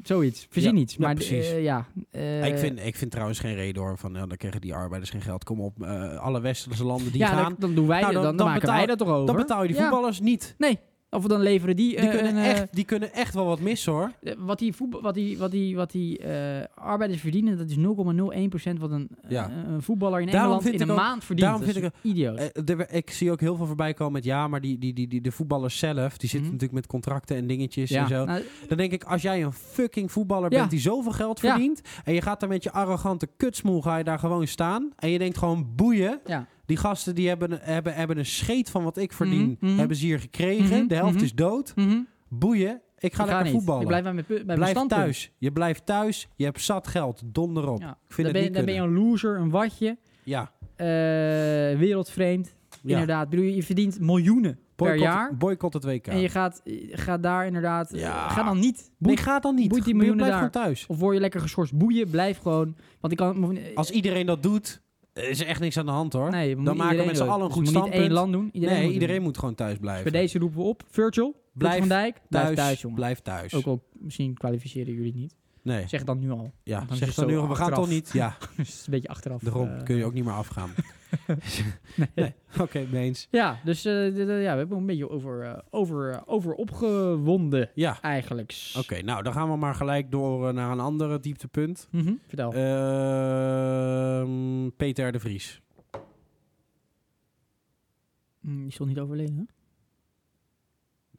B: zoiets. Verzin
A: Ja,
B: iets.
A: ja,
B: Maar
A: precies.
B: eh, ja, eh,
A: ik, vind, ik vind trouwens geen reden hoor. Van, ja, dan krijgen die arbeiders geen geld. Kom op, eh, alle westerse landen die
B: ja,
A: gaan.
B: dan, dan doen wij
A: Nou,
B: dat,
A: dan-
B: dan, dan,
A: dan
B: maken
A: betaal-
B: wij dat toch over.
A: Dan betaal je die
B: Ja.
A: voetballers niet.
B: Of dan leveren die,
A: Die,
B: eh,
A: kunnen
B: een, eh,
A: echt, die kunnen echt wel wat missen hoor.
B: eh, wat die, voetbal, wat die, wat die, wat die eh, arbeiders verdienen, dat is 0,01% wat een, eh,
A: Ja.
B: een voetballer in
A: Daarom
B: Engeland
A: vind
B: in
A: ik
B: een
A: ook-
B: maand verdient.
A: daarom
B: Dat
A: vind
B: is idioot.
A: Eh, er we- ik zie ook heel veel voorbij komen met ja, maar die, die, die, die, de voetballers zelf, die zitten
B: Mhm.
A: natuurlijk met contracten en dingetjes en zo.
B: nou,
A: Dan denk ik, als jij een fucking voetballer
B: Ja.
A: bent die zoveel geld
B: Ja.
A: verdient. En je gaat daar met je arrogante kutsmoel, ga je daar gewoon staan. En je denkt gewoon boeien.
B: ja.
A: Die gasten die hebben, hebben, hebben een scheet van wat ik verdien.
B: Mhm, mhm.
A: Hebben ze hier gekregen.
B: Mhm,
A: De helft
B: mhm.
A: is dood.
B: Mhm.
A: Boeien. Ik ga
B: Ik
A: lekker
B: niet.
A: voetballen.
B: Ik blijf bij mijn, pu- bij mijn
A: Blijf
B: standpunt.
A: thuis. Je blijft thuis. Je hebt zat geld. Donder op.
B: Ja.
A: Ik vind
B: dan
A: het
B: ben, je-
A: niet
B: dan ben je
A: kunnen.
B: een loser, een watje,
A: Ja.
B: eh, wereldvreemd.
A: ja.
B: Inderdaad, Ik bedoel, je verdient miljoenen per
A: Boycott-
B: jaar.
A: Boycott het WK.
B: En je gaat, je gaat daar inderdaad,
A: Ja.
B: ga dan niet.
A: Nee,
B: Boeit-
A: ga dan niet.
B: boeit die
A: Je
B: miljoenen
A: blijft
B: daar.
A: gewoon thuis.
B: Of word je lekker geschorst, boeien, blijf gewoon. Want ik kan...
A: Als iedereen dat doet, is er echt niks aan de hand hoor.
B: nee, we moeten
A: dan maken we
B: iedereen
A: met z'n
B: doen.
A: allen een
B: Dus
A: goed
B: we moeten niet één
A: standpunt.
B: land doen. Iedereen
A: nee,
B: moet het
A: iedereen
B: doen.
A: moet gewoon thuis blijven.
B: Dus Bij deze roepen we op. Virgil,
A: Blijf
B: blijf van Dijk, blijf thuis, jongen.
A: Blijf thuis.
B: Ook al misschien kwalificeren jullie het niet.
A: Nee,
B: Zeg het dan nu al.
A: ja.
B: dan is
A: Zeg
B: het
A: dan nu, we
B: zo
A: gaan
B: achteraf.
A: toch niet. Ja,
B: dus het is een beetje achteraf.
A: daarom
B: eh,
A: kun je ook niet meer afgaan. nee. Oké, mee eens.
B: Ja, dus eh, d- d- ja, we hebben een beetje over, eh, over, eh, over opgewonden
A: Ja,
B: eigenlijk.
A: oké. nou, dan gaan we maar gelijk door eh, naar een andere dieptepunt.
B: Mhm,
A: Eh.
B: Vertel.
A: Ehm, Peter R. de Vries.
B: Mm, die stond niet overleden, hè?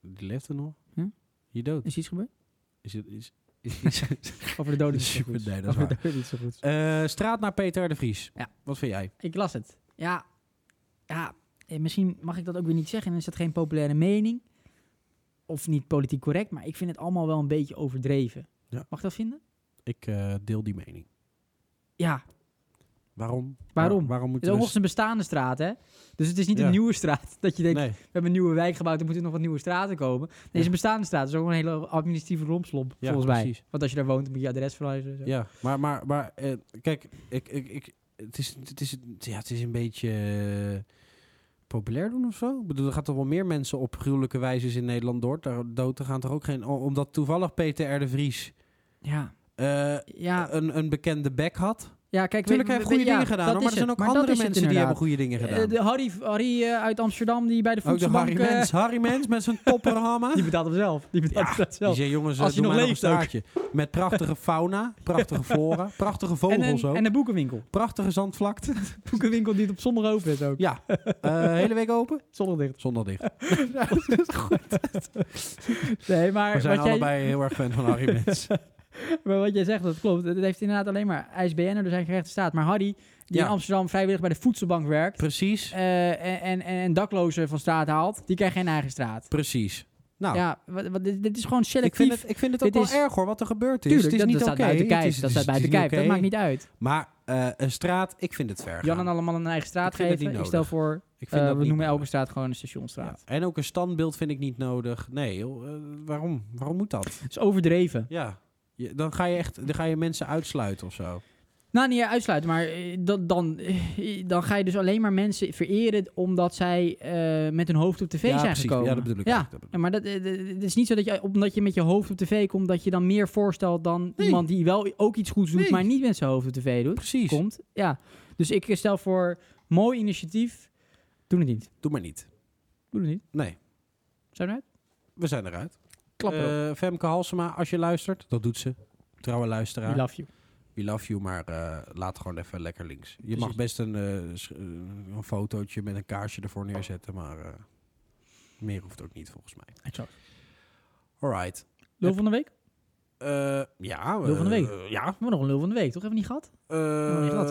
A: Die leeft er nog.
B: Hm? Ja?
A: Je dood.
B: Is iets gebeurd?
A: Is het... Is, is, is,
B: Over de doden is het
A: Super,
B: goed.
A: nee, dat is
B: Over de
A: waar.
B: doden is het goed.
A: Eh, straat naar Peter R. de Vries.
B: Ja.
A: Wat vind jij?
B: Ik las het. Ja, ja, eh, misschien mag ik dat ook weer niet zeggen. Dan is dat geen populaire mening. Of niet politiek correct, maar ik vind het allemaal wel een beetje overdreven.
A: Ja.
B: Mag ik dat vinden?
A: Ik eh, deel die mening.
B: Ja,
A: Waarom?
B: Waarom?
A: Waar- waarom
B: het
A: moet
B: is ook
A: er
B: nog eens een bestaande straat, hè? Dus het is niet
A: Dus- Ja.
B: een nieuwe straat dat je denkt,
A: Nee.
B: we hebben een nieuwe wijk gebouwd, er moeten nog wat nieuwe straten komen. Deze
A: Ja.
B: is een bestaande straat, dus ook een hele administratieve rompslomp,
A: Ja,
B: volgens mij.
A: precies.
B: Want als je daar woont, moet je adres verhuizen. en zo.
A: Ja, maar, maar, maar eh, kijk, ik, ik, ik, het, is, het, is, ja, het is een beetje eh, populair doen of zo. Ik bedoel, er gaan toch wel meer mensen op gruwelijke wijzes in Nederland door. Daar, dood er gaan toch ook geen... o- Omdat toevallig Peter R. de Vries
B: ja.
A: eh,
B: ja.
A: een, een bekende bek had.
B: Ja, kijk,
A: Natuurlijk
B: we-
A: heeft
B: we-
A: goede
B: ja,
A: dingen gedaan,
B: dat
A: hoor,
B: is
A: maar er zijn
B: het.
A: ook
B: Maar dat
A: andere
B: is het
A: mensen die hebben
B: inderdaad.
A: goede dingen gedaan.
B: Eh, de Harry, Harry eh, uit Amsterdam, die bij de
A: ook de
B: voedselbank...
A: Harry
B: eh,
A: Mens. Harry Mens met zijn topperhammer.
B: die betaalt hem zelf. Die betaalt
A: Ja,
B: hem
A: Die
B: zelf.
A: zei, jongens, eh,
B: Als je
A: doe
B: nog
A: mij
B: leeft
A: nog
B: ook.
A: een staartje. Met prachtige fauna, prachtige flora, prachtige
B: En
A: vogels
B: een,
A: ook.
B: en een boekenwinkel.
A: Prachtige zandvlakte.
B: boekenwinkel die het op zondag open is ook.
A: Ja, Eh, hele week open.
B: Zondag dicht.
A: Zondag dicht.
B: Nee, maar,
A: We zijn
B: wat, jij,
A: allebei heel erg fan van Harry Mens.
B: maar wat jij zegt, dat klopt. Het heeft inderdaad alleen maar ISBN'er, er zijn gerechten staat. Maar Harry, die
A: Ja.
B: in Amsterdam vrijwillig bij de voedselbank werkt...
A: Precies.
B: eh, en, en, en daklozen van straat haalt, die krijgt geen eigen straat.
A: Precies. Nou,
B: Ja, wat, wat- dit, dit is gewoon
A: ik,
B: selectief.
A: vind het, ik vind het ook
B: Dit
A: wel
B: is-
A: erg hoor, wat er gebeurd is.
B: Tuurlijk,
A: het is
B: dat,
A: niet
B: dat
A: oké.
B: staat buiten
A: Het
B: kijf.
A: is-
B: Dat
A: het is-
B: staat buiten
A: het is
B: kijf. Dat
A: oké.
B: maakt niet uit.
A: Maar eh, een straat, ik vind het ver
B: Jan
A: gaan.
B: en allemaal een eigen straat
A: Ik vind het niet
B: geven. Ik stel
A: nodig.
B: voor
A: Ik
B: Eh,
A: vind dat
B: we
A: niet
B: noemen elke
A: nodig.
B: straat gewoon een stationstraat.
A: Ja. En ook een standbeeld vind ik niet nodig. Nee, joh, eh, waarom? Waarom moet dat?
B: Het is overdreven.
A: Ja. Je- dan, ga je echt, dan ga je mensen uitsluiten of zo.
B: Nou, niet uitsluiten, maar eh, dat, dan, eh, dan ga je dus alleen maar mensen vereren omdat zij eh, met hun hoofd op tv
A: ja,
B: zijn
A: precies.
B: gekomen.
A: Ja, dat bedoel ik.
B: Ja.
A: ook. Dat bedoel
B: Ja, maar dat, eh, d- het is niet zo dat je, omdat je met je hoofd op tv komt, dat je dan meer voorstelt dan
A: Nee.
B: iemand die wel ook iets goeds doet,
A: Nee.
B: maar niet met zijn hoofd op tv
A: ik.
B: doet.
A: Precies.
B: Komt. Ja. Dus ik stel voor, mooi initiatief, doe het niet.
A: Doe maar niet.
B: Doe het niet.
A: Nee,
B: Zijn we uit?
A: we zijn eruit.
B: Klap erop.
A: Eh, Femke Halsema, als je luistert, dat doet ze. Trouwe luisteraar.
B: We love you.
A: We love you, maar eh, laat gewoon even lekker links. Dus Je mag
B: Precies.
A: best een, eh, sch- eh, een fotootje met een kaarsje ervoor neerzetten, maar eh, meer hoeft ook niet volgens mij.
B: Exact.
A: Alright.
B: Lul van de week?
A: Eh, ja.
B: Lul van de
A: eh,
B: week.
A: eh, ja.
B: We hebben nog een lul van de week, toch? Hebben we niet gehad?
A: Eh,
B: niet gehad,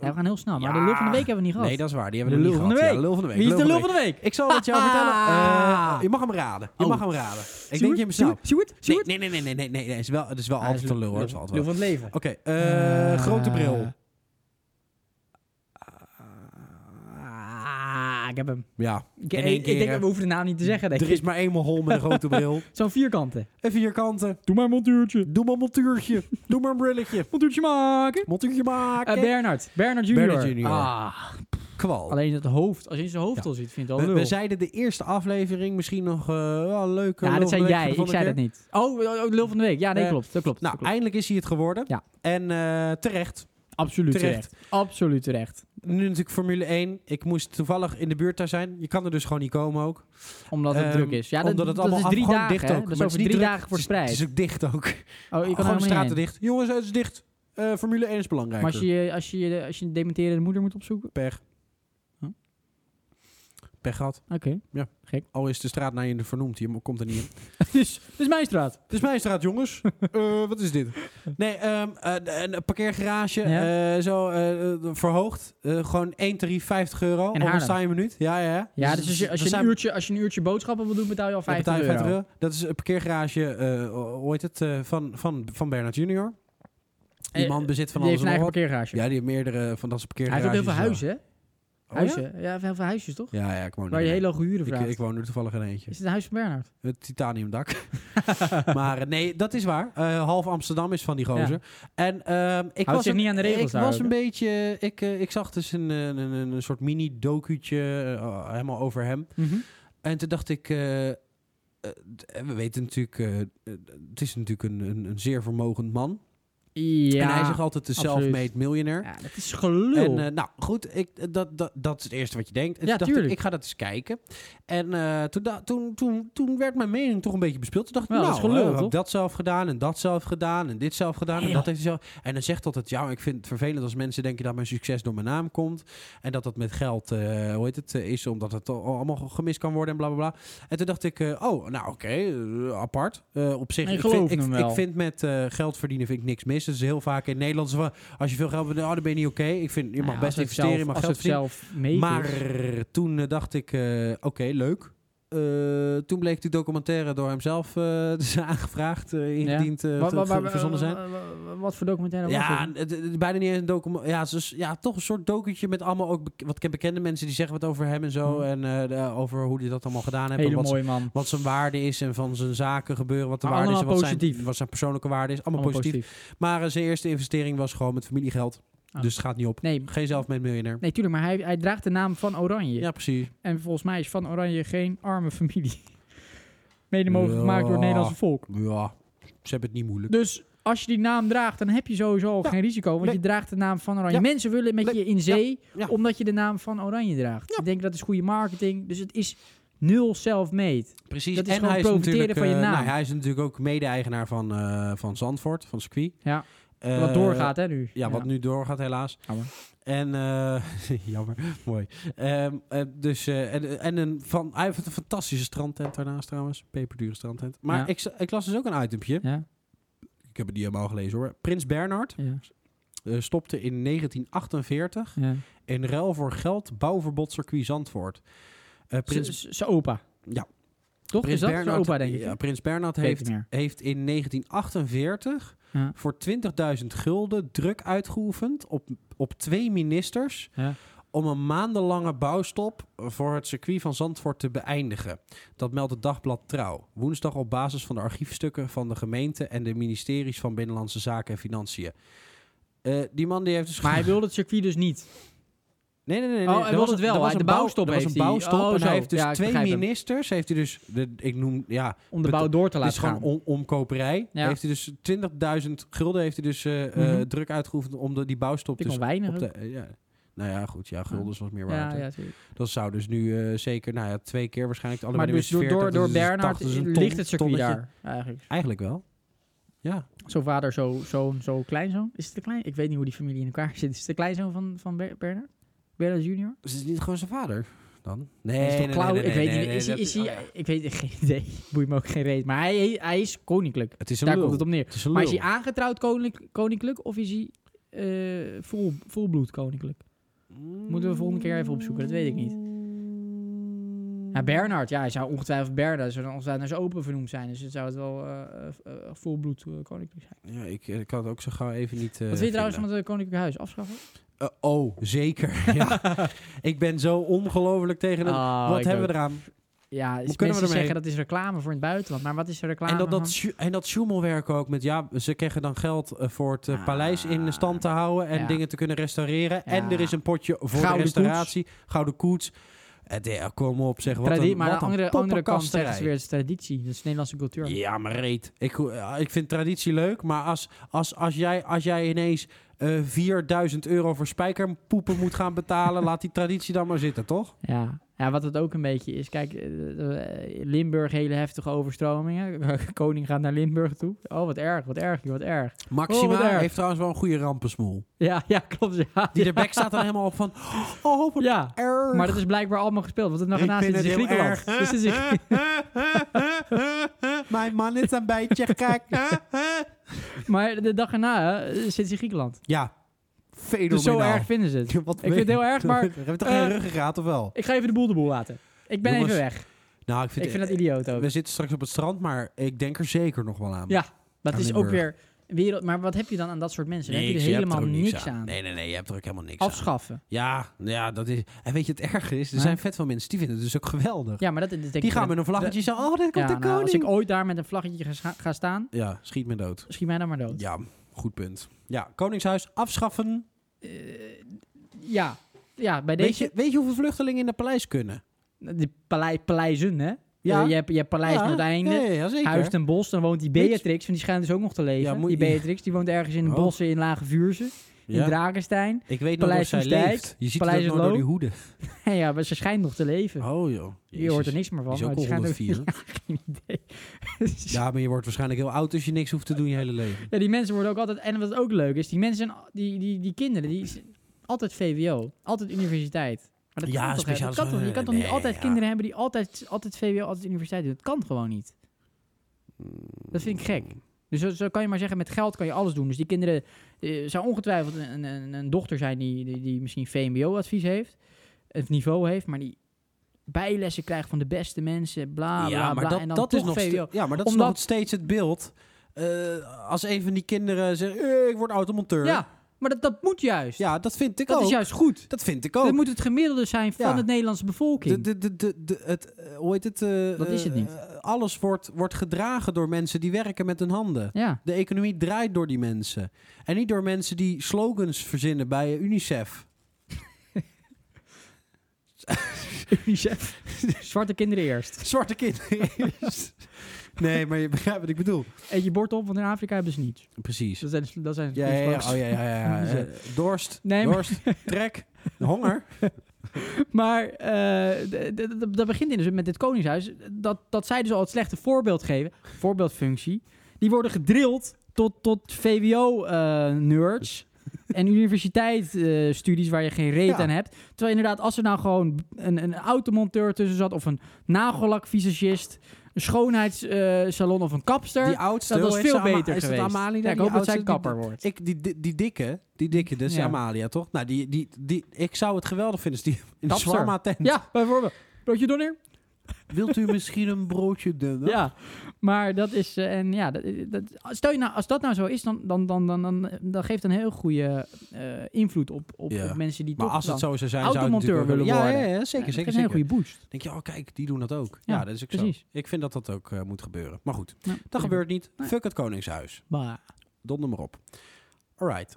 B: Ja, we gaan heel snel, maar
A: Ja.
B: de lul van de week hebben we niet gehad.
A: nee, dat is waar. Die hebben
B: De
A: we
B: lul
A: niet
B: van de
A: gehad.
B: week.
A: Ja, lul van de week.
B: Wie is de lul
A: week.
B: van de week?
A: Ik zal het jou vertellen.
B: Ah.
A: Eh, je mag hem raden. Je
B: Oh.
A: mag hem raden. Ik denk je hem zelf.
B: Sjoerd?
A: Nee,
B: Sjoerd?
A: nee, nee, nee, nee, nee, nee. Het is wel, het is wel
B: Ah,
A: altijd
B: is
A: een lul, hoor. Het is
B: Lul
A: altijd
B: van
A: wel.
B: het leven.
A: Oké, eh,
B: Ah.
A: grote bril.
B: Eh. Ah, ik heb hem.
A: Ja,
B: Ik,
A: In
B: ik-
A: één
B: ik
A: keer,
B: denk,
A: hè?
B: we hoeven de naam niet te zeggen, denk
A: er is
B: ik.
A: maar één hol met een grote bril.
B: Zo'n vierkante.
A: Een vierkante.
B: Doe maar een montuurtje.
A: Doe maar een montuurtje. Doe maar een brilletje.
B: Montuurtje maken.
A: Montuurtje maken.
B: Eh, Bernard. Bernard junior.
A: Bernard junior.
B: Ah,
A: Kwal.
B: alleen het hoofd. Als je zijn hoofd
A: Ja.
B: al ziet, vind je het al
A: We,
B: lul.
A: we zeiden de eerste aflevering misschien nog eh wel een leuke.
B: ja,
A: lul
B: dat
A: van
B: zei
A: de week
B: jij.
A: voor de
B: Ik zei dat
A: volgende
B: niet. Oh, oh, oh, lul van de week. Ja, nee,
A: Eh,
B: klopt. Dat klopt.
A: keer. Nou,
B: dat klopt.
A: eindelijk is hij het geworden.
B: Ja.
A: En eh, terecht.
B: Absoluut
A: terecht.
B: terecht. Absoluut terecht.
A: Nu natuurlijk Formule 1. Ik moest toevallig in de buurt daar zijn. Je kan er dus gewoon niet komen ook.
B: Omdat het
A: Ehm,
B: druk is. Ja, dat,
A: Omdat het
B: dat
A: allemaal
B: is drie
A: gewoon
B: dagen.
A: dicht
B: hè?
A: ook.
B: Dat is
A: Maar het
B: over
A: is
B: drie
A: niet druk.
B: dagen
A: Het
B: verspreid.
A: is ook dicht ook.
B: Oh, je kan
A: gewoon de
B: helemaal niet
A: straten
B: heen.
A: dicht. Jongens, het is dicht. Eh, Formule 1 is belangrijk.
B: Maar als je, als, je, eh, als je een dementerende moeder moet opzoeken?
A: Pech.
B: Huh?
A: Pech gehad.
B: Oké.
A: Al is de straat naar je vernoemd. Je komt er niet in.
B: dus, dus mijn straat.
A: Het is mijn straat, jongens. Eh, wat is dit? Nee, ehm, eh, een een parkeergarage.
B: Ja.
A: eh, zo eh, eh, verhoogd. Eh, gewoon één tarief, 50 euro.
B: In
A: Op een
B: Haarlem.
A: saaie minuut. Ja, ja, ja.
B: Ja, dus als je, als je, een,
A: zijn-
B: uurtje, als je een uurtje boodschappen wil doen, betaal je al
A: dan
B: 50
A: betaal je
B: euro.
A: 50 euro. Dat is een parkeergarage, eh ooit het, eh, van, van, van Bernard Junior. Die
B: Eh,
A: man bezit van
B: Die heeft
A: alles
B: een
A: en nog
B: eigen
A: wat.
B: parkeergarage.
A: Ja, die heeft meerdere eh, van dat soort
B: Hij heeft
A: parkeergarages.
B: ook heel veel huizen, hè?
A: Oh,
B: huizen. Ja, hij heeft heel veel huisjes, toch?
A: Ja, ja, ja, ik woon
B: Waar je
A: er
B: hele
A: niet.
B: hoge huren vraagt.
A: ik, ik woon er toevallig in eentje.
B: Is het een huis van Bernard?
A: Het titaniumdak. maar eh, nee, dat is waar. Eh, half Amsterdam is van die gozer. En ehm, ik
B: Houdt
A: was
B: zich
A: een-
B: niet aan de regels
A: Ik
B: daar
A: was
B: ook,
A: een
B: hè?
A: beetje. Ik, eh, ik zag dus een, eh, een, een, een soort mini-docutje eh, helemaal over hem. En toen dacht ik. eh, eh, d- en we weten natuurlijk. eh, eh, het is natuurlijk een, een, een zeer vermogend man.
B: Ja.
A: en hij zegt altijd de
B: absoluut.
A: self-made miljonair.
B: ja, dat is
A: En
B: gelul.
A: eh, nou, goed, ik, dat, dat, dat is het eerste wat je denkt. En
B: Ja,
A: toen dacht ik,
B: tuurlijk.
A: ik ga dat eens kijken. En eh, toen, da- toen, toen, toen werd mijn mening toch een beetje bespeeld. Toen dacht ik,
B: Wel, dat
A: nou,
B: is gelul,
A: eh, heb
B: toch?
A: ik dat zelf gedaan en dat zelf gedaan en dit zelf gedaan en
B: Ja.
A: dat heeft hij zelf. En dan zegt altijd, ja, maar ik vind het vervelend als mensen denken dat mijn succes door mijn naam komt. En dat dat met geld, eh, hoe heet het, eh, is omdat het al- allemaal gemist kan worden en bla, bla, bla. En toen dacht ik, eh, oh, nou oké, eh, apart. Eh, op zich,
B: Ik
A: ik, vind,
B: geloof
A: ik,
B: hem
A: ik
B: wel.
A: vind met eh, geld verdienen vind ik niks mis. Dat is heel vaak in Nederland, zo van, als je veel geld verdient, oh, dan ben je niet oké. Ik vind, je mag best investeren, je mag
B: Nou als
A: geld verdienen.
B: het zelf mee
A: Maar toen eh, dacht ik, eh, oké, leuk. Eh, toen bleek die documentaire door hemzelf eh, te zijn aangevraagd, eh, ingediend, eh, te- ge- verzonnen zijn.
B: Wat voor documentaire was
A: Ja,
B: het?
A: het- het- bijna niet eens een document. Ja, het is dus, ja, toch een soort documentje met allemaal ook bek- wat ik ken bekende mensen die zeggen wat over hem en zo.
B: Hmm.
A: En eh, de- over hoe die dat allemaal gedaan hebben. en
B: Hele
A: wat, ze-
B: mooie man.
A: wat zijn waarde is en van zijn zaken gebeuren, wat de
B: Maar
A: waarde is en
B: allemaal
A: wat zijn,
B: positief.
A: wat zijn persoonlijke waarde is. Allemaal,
B: Allemaal
A: positief.
B: positief.
A: Maar eh, zijn eerste investering was gewoon met familiegeld.
B: Ah.
A: Dus het gaat niet op.
B: Nee,
A: Geen zelfmade miljonair.
B: nee, tuurlijk, maar hij, hij draagt de naam van Oranje.
A: Ja, precies.
B: En volgens mij is Van Oranje geen arme familie. Mede mogelijk
A: Ja.
B: gemaakt door het Nederlandse volk.
A: Ja, ze hebben het niet moeilijk.
B: Dus als je die naam draagt, dan heb je sowieso al
A: Ja.
B: geen risico. Want
A: Nee.
B: je draagt de naam van Oranje.
A: Ja.
B: Mensen willen met
A: Nee.
B: je in zee,
A: Ja.
B: omdat je de naam van Oranje draagt.
A: Ja.
B: Ik denk dat is goede marketing. Dus het is nul self-made.
A: Precies.
B: dat is
A: en
B: gewoon
A: hij is
B: profiteren
A: natuurlijk,
B: van je
A: eh,
B: naam.
A: nou, hij is natuurlijk ook mede-eigenaar van, eh, van Zandvoort, van Squee.
B: Ja,
A: Eh,
B: wat doorgaat hè nu.
A: Ja, wat nu doorgaat helaas.
B: Jammer.
A: En eh, jammer, mooi. Ehm, eh, dus, eh, en, en een van, hij heeft een fantastische strandtent daarnaast trouwens. Peperdure strandtent. Maar
B: Ja.
A: ik, z- ik las dus ook een itempje.
B: Ja,
A: Ik heb het niet helemaal gelezen hoor. Prins Bernhard
B: ja,
A: eh, stopte in 1948
B: ja.
A: in ruil voor geld bouwverbod circuit Zandvoort. Eh, Prins,
B: Zijn opa.
A: Ja.
B: Toch?
A: Prins
B: is dat zijn
A: Bernhard-
B: opa, denk ik?
A: Ja,
B: hè?
A: Prins Bernhard
B: Weet
A: heeft
B: het meer.
A: heeft in 1948
B: Ja.
A: voor 20.000 gulden druk uitgeoefend op, op twee ministers
B: Ja.
A: om een maandenlange bouwstop voor het circuit van Zandvoort te beëindigen. Dat meldt het dagblad Trouw. Woensdag op basis van de archiefstukken van de gemeente en de ministeries van Binnenlandse Zaken en Financiën. Eh, die man die heeft dus.
B: Maar hij wilde het circuit dus niet.
A: Nee, nee, nee. nee.
B: Oh, hij
A: Er
B: wilde
A: was-
B: het wel.
A: er was
B: Hij-
A: een
B: de
A: bouw-
B: bouwstop
A: er was
B: heeft
A: een
B: hij.
A: bouwstop.
B: Oh,
A: en
B: zo.
A: hij heeft dus
B: Ja, ik
A: twee
B: begrijp hem.
A: ministers. Heeft hij dus. De, ik noem. Ja.
B: Om de
A: Bet-
B: bouw door te
A: Het
B: laten
A: is gewoon
B: gaan.
A: on- omkoperij.
B: Ja.
A: Heeft hij dus 20.000 gulden heeft hij dus eh, eh,
B: Mhm.
A: druk uitgeoefend om de, die bouwstop
B: Vind ik
A: dus
B: nog weinig
A: op
B: ook.
A: de, eh, ja. Nou ja, goed. Ja, guldens was meer waard.
B: Ja,
A: hè.
B: ja, tuurlijk.
A: Dat zou dus nu eh, zeker, nou ja, twee keer waarschijnlijk.
B: maar
A: allebei
B: dus door, door, door Bernard
A: dus
B: ligt het circuit daar eigenlijk.
A: Eigenlijk wel. Ja.
B: Zo vader, zo, zoon, zo kleinzoon. Is het de klein? Ik weet niet hoe die familie in elkaar zit. Is het de kleinzoon van, van Ber- Bernard? Bernard junior?
A: Dus het is niet gewoon zijn vader dan?
B: Hij
A: Nee,
B: is toch
A: nee,
B: Klauw?
A: nee, nee,
B: Ik weet
A: nee,
B: niet.
A: nee,
B: Is hij-
A: dat-
B: is hij-
A: oh ja.
B: Ik weet geen idee. Boeit me ook geen reet. Maar hij, hij is koninklijk.
A: Het is een
B: Daar
A: lul.
B: komt het op neer.
A: Het is een
B: Maar is
A: lul.
B: hij aangetrouwd konink- koninklijk of is hij eh vol, volbloed koninklijk? Moeten we volgende keer even opzoeken, dat weet ik niet.
A: Mm.
B: Ja, Nou, Bernard, ja, hij zou ongetwijfeld Bernard, zou dan ongetwijfeld naar zijn open vernoemd zijn. Dus het zou het wel eh, eh, eh, volbloed eh, koninklijk zijn.
A: Ja, ik, eh, ik kan het ook zo gauw even niet. eh,
B: Wat vind je trouwens van
A: vinden.
B: het eh, koninklijk huis? Afschaffen?
A: Eh, oh, zeker. ja. Ik ben zo ongelooflijk tegen het.
B: Oh,
A: Wat
B: ik
A: hebben
B: ook.
A: we eraan?
B: Ja,
A: kunnen
B: dus
A: we
B: mensen
A: ermee?
B: zeggen dat is reclame voor in het buitenland. Maar wat is er reclame
A: En dat, dat,
B: van?
A: schu- en dat sjoemelwerk ook met ja, ze krijgen dan geld eh, voor het eh,
B: Ah.
A: paleis in stand te houden en
B: Ja.
A: dingen te kunnen restaureren. En
B: Ja.
A: er is een potje voor de
B: Gouden
A: restauratie, gouden koets. Het, ja, kom op, zeg wat
B: Tradi-
A: een,
B: maar aan
A: wat
B: de
A: een
B: andere, andere kant
A: poppenkasterij.
B: zeggen ze weer, het is traditie. Dat is Nederlandse cultuur.
A: Ja, maar reet. Ik, eh, ik vind traditie leuk, maar als, als, als, jij, als jij ineens eh 4000 euro voor spijkerpoepen moet gaan betalen, laat die traditie dan maar zitten, toch?
B: Ja. ja, wat het ook een beetje is. Kijk, eh, eh, Limburg, hele heftige overstromingen. Koning gaat naar Limburg toe. Oh, wat erg, wat erg, joh, wat erg.
A: Maxima
B: Oh, wat erg.
A: heeft trouwens wel een goede rampensmoel.
B: Ja, ja, klopt. Ja,
A: Die
B: ja.
A: de bek staat dan helemaal op van, oh, wat
B: Ja,
A: erg.
B: maar dat is blijkbaar allemaal gespeeld. Want het nog naast
A: vind
B: is in
A: het heel
B: Griekenland. Dus het is in Grie-
A: Mijn man is een beetje gek.
B: maar de dag erna eh, zit ze in Griekenland.
A: ja, fenomenaal.
B: Dus zo erg vinden ze het.
A: Wat
B: vind het heel erg, maar,
A: Heb je toch
B: eh,
A: geen ruggengraat of wel?
B: Ik ga even de boel de boel laten. Ik ben
A: Jongens,
B: even weg.
A: Nou, ik vind,
B: Ik vind dat idioot ook.
A: We zitten straks op het strand, maar ik denk er zeker nog wel aan.
B: Ja, Dat
A: aan
B: is ook
A: Limburg.
B: weer wereld. Maar wat heb je dan aan dat soort mensen? Dan
A: Niks,
B: dus heb je er
A: hebt
B: helemaal
A: ook
B: niks, aan.
A: Nee, nee, nee, je hebt er ook helemaal niks aan.
B: Afschaffen.
A: Ja, ja, dat is... En weet je, het erg is, er
B: Maar-
A: zijn vet veel mensen die vinden het dus ook geweldig.
B: Ja, maar dat, dat denk
A: die
B: ik
A: gaan
B: wel.
A: met een vlaggetje zo, oh, dit
B: Ja,
A: komt de
B: nou, als
A: koning.
B: ik ooit daar met een vlaggetje ga, scha- ga staan,
A: Ja, schiet me dood.
B: schiet mij dan maar dood.
A: Ja, goed punt. Ja, Koningshuis afschaffen.
B: Eh, ja. ja, bij
A: Weet
B: deze.
A: je, weet je hoeveel vluchtelingen in het paleis kunnen?
B: De palei, paleizen, hè?
A: Ja.
B: Eh, je, hebt, je hebt Paleis
A: Ja,
B: Noordeinde,
A: Ah, Ja, ja, ja, zeker.
B: Huis ten Bos. Dan woont die
A: Weet je-
B: Beatrix, want die schijnt dus ook nog te leven.
A: Ja, moet-
B: die Beatrix, die woont ergens in de
A: Oh.
B: bossen in Lage Vuurse, in
A: Ja.
B: Drakenstein.
A: Ik weet nog dat
B: Paleis
A: zij
B: Soestdijk,
A: leeft. Je ziet het
B: Paleis
A: ook nog door
B: Loo.
A: die hoeden.
B: ja, maar ze schijnt nog te leven.
A: Oh joh.
B: je hoort er niks meer van.
A: Is ook
B: maar die
A: al
B: schijnt ook-
A: 104.
B: Geen idee.
A: Ja, maar je wordt waarschijnlijk heel oud als je niks hoeft te doen je hele leven.
B: Ja, die mensen worden ook altijd... En wat ook leuk is, die mensen, zijn al- die, die, die kinderen, die zijn altijd VWO. Altijd universiteit. Maar dat
A: Ja,
B: kan toch, hè?
A: speciaal
B: dat kan toch, je kan toch niet
A: nee,
B: altijd
A: ja.
B: kinderen hebben die altijd, altijd VWO, altijd universiteit doen. Dat kan gewoon niet. Dat vind ik gek. Dus zo, zo kan je maar zeggen, met geld kan je alles doen. Dus die kinderen eh, zou ongetwijfeld een, een, een dochter zijn die, die, die misschien VMBO-advies heeft. Het niveau heeft, maar die bijlessen krijgt van de beste mensen, bla, bla,
A: ja,
B: bla.
A: maar dat,
B: en dan
A: dat
B: toch
A: is nog
B: VWO.
A: steeds, ja, maar dat is
B: Omdat-
A: nog steeds het beeld. eh, als een van die kinderen zegt, eh, ik word automonteur.
B: Ja, maar dat, dat moet juist.
A: Ja, dat vind ik
B: dat
A: ook.
B: is juist goed.
A: Dat vind ik
B: Dat
A: ook.
B: moet het gemiddelde zijn van
A: Ja.
B: de Nederlandse bevolking.
A: De, de, de, de, de- het, eh, hoe heet het? eh,
B: Dat is het
A: eh,
B: niet.
A: eh, alles wordt, wordt gedragen door mensen die werken met hun handen.
B: ja.
A: De economie draait door die mensen. En niet door mensen die slogans verzinnen bij eh, UNICEF.
B: Chef. Zwarte kinderen eerst.
A: Zwarte kinderen. nee, maar je begrijpt wat ik bedoel.
B: Eet je bord op, want in Afrika hebben ze niets. Dus
A: Precies.
B: Dat zijn, dat zijn
A: Ja, ja, ja. Oh, ja, ja, ja.
B: Zo.
A: Eh, dorst,
B: Nee, maar-
A: dorst, trek, honger.
B: Maar eh, d- d- d- dat begint in dus met dit koningshuis. Dat, dat zij dus al het slechte voorbeeld geven. Voorbeeldfunctie. Die worden gedrild tot, tot VWO-nerds. eh, en universiteitsstudies waar je geen reet
A: Ja.
B: aan hebt. Terwijl inderdaad, als er nou gewoon een, een automonteur tussen zat... of een nagellakvisagist, een schoonheidssalon eh, of een kapster...
A: Die oudste,
B: dat was
A: hoe heet
B: veel
A: ze? Ama-
B: beter
A: is dat
B: geweest.
A: Amalia?
B: Ja, ik
A: Die
B: hoop dat zij
A: oudste, die-
B: kapper wordt.
A: Ik, die, die, die dikke, die dikke, dus
B: Ja.
A: Amalia, toch? Nou, die, die, die, ik zou het geweldig vinden als die in de
B: Kapster.
A: shawarma tent.
B: Ja, bijvoorbeeld. Broodje doneer.
A: Wilt u misschien een broodje dunner?
B: Ja, maar dat is. eh, en ja, dat, dat, stel je nou, als dat nou zo is, dan, dan, dan, dan, dan, dan geeft het een heel goede eh, invloed op, op,
A: Ja.
B: op mensen die
A: Maar
B: toch
A: als het
B: dan
A: zo zou zijn, zou ik
B: automonteur
A: natuurlijk wel
B: willen
A: willen worden. Ja,
B: worden.
A: ja, ja, zeker,
B: Ja, dat
A: zeker,
B: is een hele
A: zeker.
B: goede boost.
A: denk je, oh kijk, die doen dat ook.
B: Ja,
A: Ja, dat is ook
B: precies.
A: zo. Ik vind dat dat ook eh, moet gebeuren. Maar goed,
B: Ja,
A: dat
B: zeker.
A: gebeurt niet.
B: Nee.
A: Fuck het Koningshuis.
B: Maar
A: Donder maar op. Alright.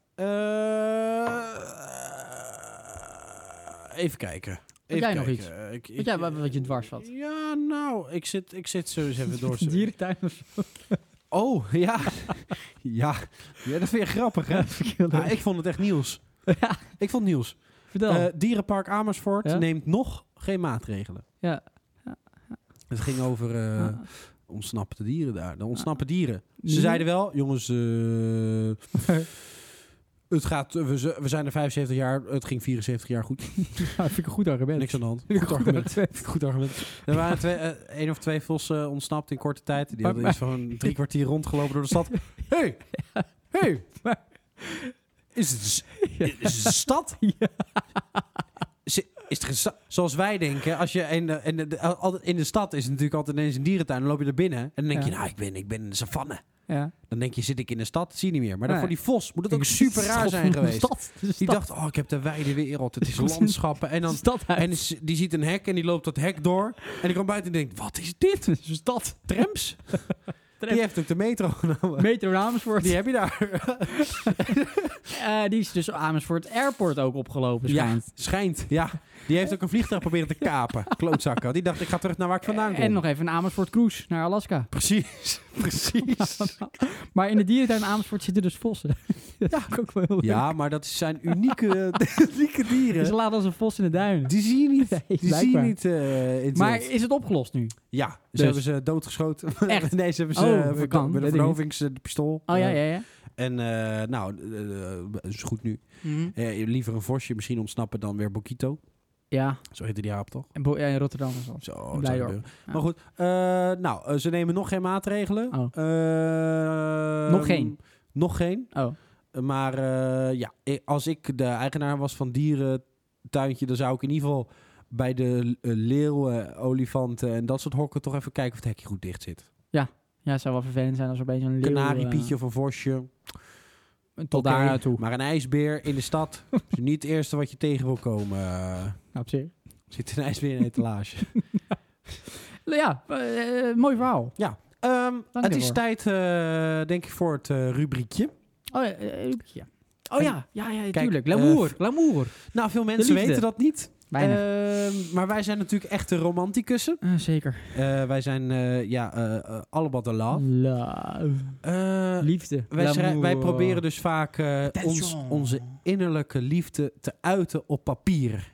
A: Eh, even kijken. Even
B: jij nog
A: kijken.
B: iets?
A: Eh, Ik,
B: jij- wat- wat je dwars valt?
A: Ja, nou, ik zit, ik zit zo eens even door. te-
B: dierentuin of zo.
A: Oh, ja. ja. Ja, dat vind je grappig, hè? Ah, ik vond het echt nieuws.
B: Ja,
A: Ik vond het nieuws.
B: vertel.
A: Eh, Dierenpark Amersfoort
B: Ja?
A: neemt nog geen maatregelen.
B: Ja.
A: Het ging over eh,
B: Ah,
A: ontsnapte dieren daar. De ontsnappen dieren. Ze
B: Ja.
A: zeiden wel, jongens, eh, het gaat, we, z- we zijn er 75 jaar, het ging 74 jaar goed.
B: ja, vind ik een goed argument.
A: Niks aan de hand.
B: Goed
A: Goed argument.
B: argument.
A: Goed argument. Er waren twee, eh, één of twee vossen eh, ontsnapt in korte tijd. Die hadden
B: Maar-
A: iets van drie kwartier rondgelopen door de stad. hey, hey.
B: Maar-
A: Is het, een s- is het een stad? Is, is het een sta- Zoals wij denken, als je in de, in, de, de- al- altijd- in de stad is het natuurlijk altijd ineens een dierentuin. Dan loop je er binnen en dan denk
B: Ja.
A: je, nou, ik ben, ik ben in de savanne.
B: Ja.
A: Dan denk je, zit ik in de stad? Zie je niet meer. Maar dan
B: Nee.
A: voor die vos moet het ook super raar zijn geweest. Die dacht, oh, ik heb de wijde wereld. Het is landschappen. En dan en is- die ziet een hek en die loopt dat hek door. En die komt buiten en denkt, wat is dit?
B: is een stad.
A: Trams? Die heeft ook de metro genomen.
B: Metro Amersfoort.
A: Die
B: Die,
A: heb je daar.
B: die is dus Amersfoort Airport ook opgelopen.
A: Ja,
B: schijnt.
A: schijnt. Ja. Die heeft ook een vliegtuig proberen te kapen. Klootzakken. Die dacht, ik ga terug naar waar ik vandaan kom.
B: Eh, En nog even een Amersfoort Cruise naar Alaska.
A: Precies. Precies.
B: Maar in de dierentuin Amersfoort zitten dus vossen. dat ja. ook wel heel leuk.
A: Ja, maar dat zijn unieke, unieke
B: Ze
A: dieren.
B: laten als een vos in de duin.
A: Die zie je niet.
B: Nee,
A: Die zie je
B: blijkbaar.
A: niet eh, in het
B: Maar
A: wild.
B: is het opgelost nu?
A: Ja, ze
B: Dus-
A: hebben ze doodgeschoten.
B: Echt?
A: nee, ze hebben ze
B: Oh,
A: eh,
B: dat
A: verdo-
B: kan,
A: met
B: weet
A: een
B: ik
A: verdovingspistool.
B: Oh ja,
A: Eh,
B: ja, ja.
A: En eh, nou, eh, eh, is goed nu. Eh, liever een vosje misschien ontsnappen dan weer Bokito.
B: Ja,
A: Zo heette die aap toch?
B: en Bo- ja, in Rotterdam is dat.
A: Zo, het zou
B: Blijdorp.
A: gebeuren.
B: Ja.
A: Maar goed, eh, nou, eh, ze nemen nog geen maatregelen.
B: Oh.
A: Eh,
B: Nog geen?
A: Nog geen.
B: Oh,
A: Eh, Maar eh, ja, eh, als ik de eigenaar was van dierentuintje, dan zou ik in ieder geval bij de eh, leeuwen, olifanten en dat soort hokken toch even kijken of het hekje goed dicht zit.
B: ja, het zou wel vervelend zijn als er opeens een leeuw...
A: Kanariepietje of een vosje.
B: eh, tot
A: Oké,
B: daar naartoe.
A: Maar een ijsbeer in de stad is niet het eerste wat je tegen wil komen. Eh,
B: Nou, op zich.
A: zit een ijsbeer in een etalage.
B: Ja, eh, eh, mooi verhaal.
A: Ehm,
B: Dank
A: het is
B: daarvoor.
A: tijd, eh, denk ik, voor het eh, rubriekje.
B: Oh, eh, eh, ja. Oh
A: En-
B: ja, ja, ja,
A: Kijk,
B: tuurlijk.
A: eh,
B: Glamour,
A: v-
B: glamour.
A: Nou, veel mensen
B: liefde.
A: weten dat niet.
B: Weinig.
A: Ehm, maar wij zijn natuurlijk echte romanticussen.
B: Eh, zeker.
A: Eh, wij zijn, eh, ja, eh, eh, all about the
B: Mm.
A: love.
B: Love.
A: Eh,
B: Liefde.
A: wij, schrij-
B: Glamour.
A: wij proberen dus vaak eh, ons,
B: Attention.
A: onze innerlijke liefde te uiten op papier.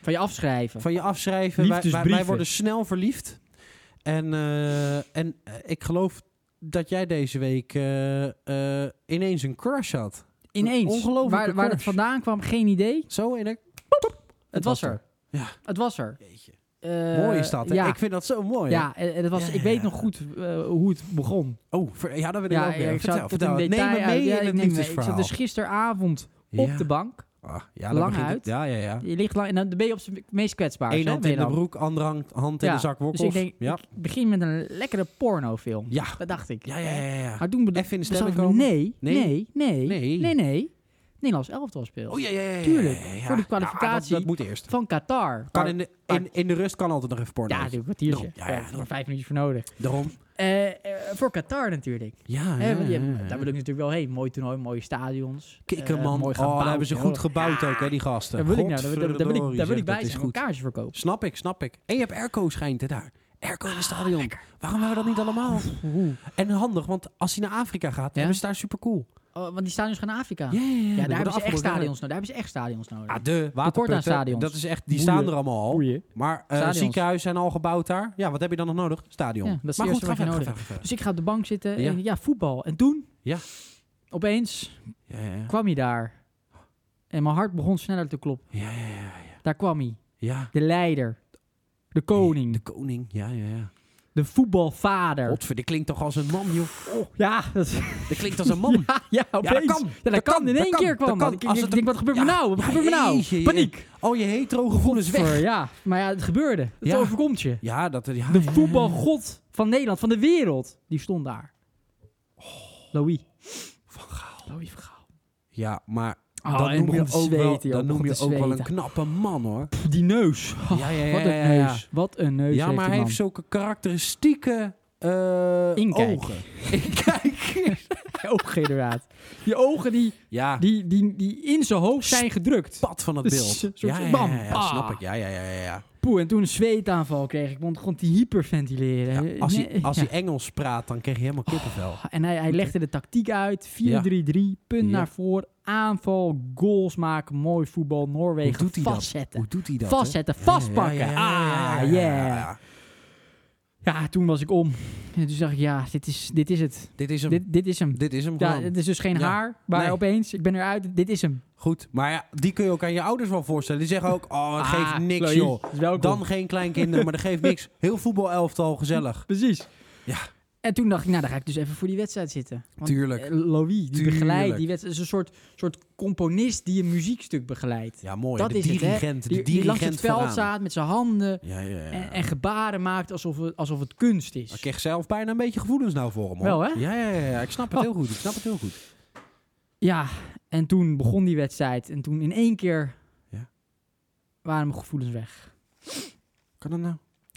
B: Van je afschrijven.
A: Van je afschrijven. Wij, wij, wij
B: Liefdesbrieven.
A: worden snel verliefd. En, eh, en eh, ik geloof dat jij deze week eh, eh, ineens een crush had.
B: Ineens.
A: Ongelooflijke
B: Waar, waar het
A: crush.
B: vandaan kwam, geen idee. Het,
A: Zo in een...
B: was er.
A: Ja.
B: Het was er.
A: Jeetje.
B: Eh,
A: mooi is dat, hè?
B: Ja.
A: Ik vind dat zo mooi.
B: ja, en, en het was,
A: Ja,
B: ik
A: ja,
B: weet
A: ja.
B: nog goed eh, hoe het begon.
A: Oh, ver- ja, dat wil ik
B: ja,
A: ook weer.
B: ja, ik
A: vertel,
B: zat tot in
A: vertel. Neem
B: detail
A: me
B: uit.
A: mee
B: Ja,
A: in het
B: ik neem me- Ik
A: liefdesverhaal.
B: zat dus gisteravond op
A: Ja.
B: de bank.
A: Ah, ja, dan
B: lang
A: begint het-
B: uit.
A: Ja, ja, ja.
B: Je ligt lang, en dan ben je op zijn meest kwetsbaar.
A: Eén
B: hè,
A: hand
B: ben
A: in
B: je
A: de
B: dan.
A: broek, andere hand, hand in
B: Ja,
A: de zak
B: Dus
A: wokkels.
B: ik denk,
A: ja.
B: ik begin met een lekkere pornofilm.
A: Ja.
B: Dat dacht ik.
A: ja, ja, ja, ja.
B: Maar toen bedacht
A: Even in de
B: besloot
A: stemming
B: ik,
A: komen.
B: nee,
A: Nee.
B: nee, nee, nee,
A: Nee.
B: nee, Nederlands elftal speelt.
A: Oh, ja, ja, ja, ja, ja.
B: Tuurlijk,
A: ja,
B: voor
A: ja.
B: die
A: Nou, ah,
B: kwalificatie.
A: dat, dat moet eerst.
B: Van Qatar.
A: Kan
B: Waar-
A: in, de, in, in de rust kan altijd nog even porno.
B: ja, een kwartiertje.
A: Nou, Ja, ja,
B: Ja, er vijf minuutjes voor nodig.
A: Daarom.
B: Eh, eh, voor Qatar natuurlijk.
A: Ja,
B: Hè,
A: Ah, ja,
B: want
A: ja,
B: je-
A: ja.
B: Daar wil ik natuurlijk wel heen. Mooi toernooi, mooie stadions.
A: Kikker,
B: Eh,
A: man.
B: mooi
A: oh,
B: gebouwd,
A: daar hebben ze
B: joh.
A: goed gebouwd ook, hè, die gasten.
B: Daar wil ik, nou, daar, wil- daar wil ik, daar wil
A: Godverdorie,
B: ik bij
A: zeg,
B: zijn.
A: dat
B: Een
A: is goed.
B: kaartje verkopen.
A: Snap ik, snap ik. En je hebt airco schijnt, hè, daar. Airco in het
B: Ah,
A: stadion. Waarom hebben we dat niet allemaal?
B: Oeh.
A: En handig, want als hij naar Afrika gaat, dan is het daar supercool.
B: Oh, want die stadions gaan naar Afrika.
A: Ja, ja, ja. Dan
B: Ja, daar hebben, ze
A: wordt
B: echt
A: afgelopen jaar-
B: stadions nodig. daar hebben ze echt stadions nodig.
A: Ah, de
B: Tekort aan
A: waterputten.
B: stadions.
A: Dat is echt, die
B: Boeien.
A: staan er allemaal al.
B: Oei, hè?
A: Maar eh,
B: Stadions.
A: ziekenhuizen zijn al gebouwd daar. Ja, wat heb je dan nog nodig? Stadion.
B: Ja, dat is
A: maar
B: het
A: goed,
B: eerste
A: ga
B: wat je
A: verder,
B: nodig
A: ga verder,
B: Dus ik ga op de bank zitten.
A: Ja.
B: En, ja, voetbal. En toen?
A: Ja.
B: Opeens
A: ga verder. Ja, ja,
B: kwam hij daar. En mijn hart begon sneller te kloppen.
A: ja. ja, ja, ja, ja.
B: Daar kwam hij.
A: ja.
B: De leider. De koning.
A: De koning, ja, ja, ja.
B: De voetbalvader.
A: Godver, dit klinkt toch als een man, joh. Oh,
B: Ja, dat is-
A: dat klinkt als een man.
B: ja, opeens.
A: dat kan.
B: Ja, dat
A: Dat
B: kan.
A: kan,
B: In
A: dat
B: één
A: kan,
B: keer
A: dat
B: kwam
A: kan.
B: dat. Ik,
A: Als
B: ik
A: het-
B: denk, wat gebeurt
A: Ja,
B: er nou? Wat
A: ja,
B: gebeurt er
A: jeetje,
B: nou?
A: je-
B: Paniek.
A: Oh, je hetero gevoelens
B: Voor,
A: weg.
B: Ja, maar ja, het gebeurde. Het
A: Ja.
B: overkomt je.
A: Ja, dat... Ja,
B: De
A: ja, ja.
B: voetbalgod van Nederland, van de wereld, die stond daar. Louis. Oh. Van Gaal. Louis van Gaal.
A: Ja, maar
B: Oh,
A: dan
B: en
A: noem je
B: begon te
A: ook wel,
B: zweten, joh,
A: dan noem
B: begon
A: je
B: te
A: ook wel een
B: zweten.
A: knappe man, hoor.
B: Die neus. Oh,
A: Ja, ja, ja,
B: Wat een
A: ja, ja.
B: neus. Wat een neus
A: Ja, maar hij heeft
B: zo...
A: zulke karakteristieke eh
B: Inkijk.
A: ogen. Inkijk.
B: ogen inderdaad. Die ogen die,
A: ja, die
B: die, die, die in zijn hoofd zijn gedrukt.
A: pad van het
B: Een
A: beeld.
B: soort
A: Ja, ja, ja,
B: bam.
A: ja, ja,
B: Ah.
A: snap ik. Ja, ja, ja, ja. ja.
B: Poeh, en toen een zweetaanval kreeg ik. Want gewoon te hyperventileren.
A: Ja, als,
B: Eh, Nee,
A: hij, als
B: ja. Ah,
A: hij Engels praat, dan krijg je helemaal kippenvel.
B: En hij, hij legde de tactiek uit. 4-3-3, punt
A: Ja.
B: naar voor. Aanval, goals maken, mooi voetbal. Noorwegen
A: Hoe doet hij dat?
B: vastzetten.
A: Hoe doet hij dat? hè?
B: vastzetten,
A: Ja, ja,
B: vastpakken.
A: ja, ja, ja,
B: Ah,
A: ja, ja, ja,
B: yeah.
A: ja.
B: Ja, toen was ik om. En toen dacht ik, ja, dit is, dit is het.
A: Dit is hem. Dit,
B: Dit, dit is hem.
A: is hem
B: Ja,
A: gewoon.
B: het is dus geen
A: Ja.
B: haar, maar
A: Nee.
B: opeens, ik ben eruit, dit is hem.
A: Goed. Maar ja, die kun je ook aan je ouders wel voorstellen. Die zeggen ook, oh, het geeft
B: Ah,
A: niks,
B: Chloe,
A: joh.
B: is welkom.
A: Dan geen kleinkinderen, maar dat geeft niks. Heel voetbalelftal, gezellig.
B: Precies.
A: Ja.
B: En toen dacht ik, nou, dan ga ik dus even voor die wedstrijd zitten. Want
A: Tuurlijk.
B: eh, Louis, die
A: Tuurlijk.
B: begeleidt die wedstrijd, is een soort, soort componist die een muziekstuk begeleidt.
A: Ja, mooi.
B: Dat
A: de
B: is het, hè.
A: dirigent.
B: Die,
A: de
B: die langs het
A: dirigent
B: veld
A: vooraan.
B: staat met zijn handen
A: Ja, ja, ja.
B: en, en gebaren maakt alsof het, alsof het kunst is.
A: Ik kreeg zelf bijna een beetje gevoelens nou voor hem. Hoor.
B: Wel, hè? Oh.
A: Ja, ja, ja, ja. Ik snap het heel goed. Ik snap het heel goed.
B: Ja, en toen begon die wedstrijd. En toen in één keer
A: Ja.
B: waren mijn gevoelens weg.
A: Kan dat nou?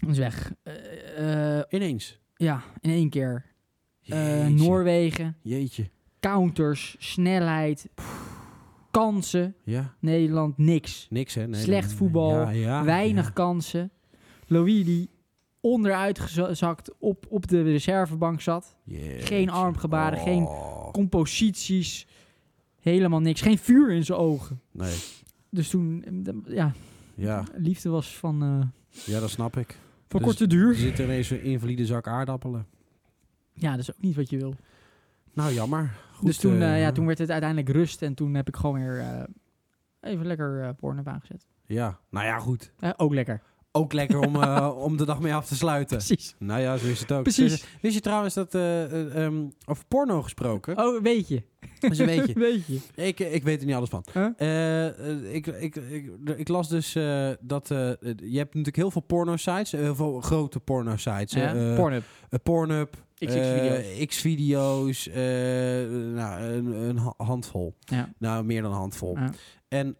B: Is weg. Eh, eh,
A: Ineens.
B: ja, in één keer. Eh,
A: Jeetje.
B: Noorwegen,
A: Jeetje.
B: counters, snelheid, kansen.
A: Ja.
B: Nederland niks.
A: Niks, hè? Nee,
B: Slecht
A: nee, nee.
B: voetbal,
A: Ja, ja,
B: Weinig
A: ja.
B: kansen. Louis die onderuit gezakt op, op de reservebank zat.
A: Jeetje.
B: Geen armgebaren,
A: Oh.
B: geen composities. Helemaal niks. Geen vuur in zijn ogen.
A: Nee.
B: Dus toen, eh, d- ja,
A: Ja.
B: liefde was van, eh
A: ja, dat snap ik.
B: van
A: Dus-
B: korte
A: Er
B: duur.
A: zit ineens een invalide zak aardappelen.
B: Ja, dat is ook niet wat je wil.
A: Nou, jammer. Goed,
B: dus toen,
A: eh,
B: eh, ja, toen werd het uiteindelijk rust en toen heb ik gewoon weer eh, even lekker eh porno aangezet.
A: Ja. Nou ja, goed.
B: Eh, ook lekker.
A: Ook lekker om, eh, om de dag mee af te sluiten.
B: Precies.
A: Nou ja, zo is het ook.
B: Precies.
A: Wist je, wist je trouwens dat... eh, eh, ehm, over porno gesproken.
B: Oh, weet je.
A: Dat is een beetje.
B: Weet je.
A: Ik, ik weet er niet alles van.
B: Huh?
A: Eh, eh, ik, ik, ik, ik las dus eh, dat... eh, je hebt natuurlijk heel veel porno-sites. eh, Heel veel grote porno-sites. hè.
B: Ja,
A: Eh,
B: Pornhub.
A: eh, Pornhub.
B: XXvideo's.
A: eh, X-video's. eh, nou, een, een ha- handvol.
B: Ja.
A: Nou, meer dan een handvol.
B: Ja.
A: En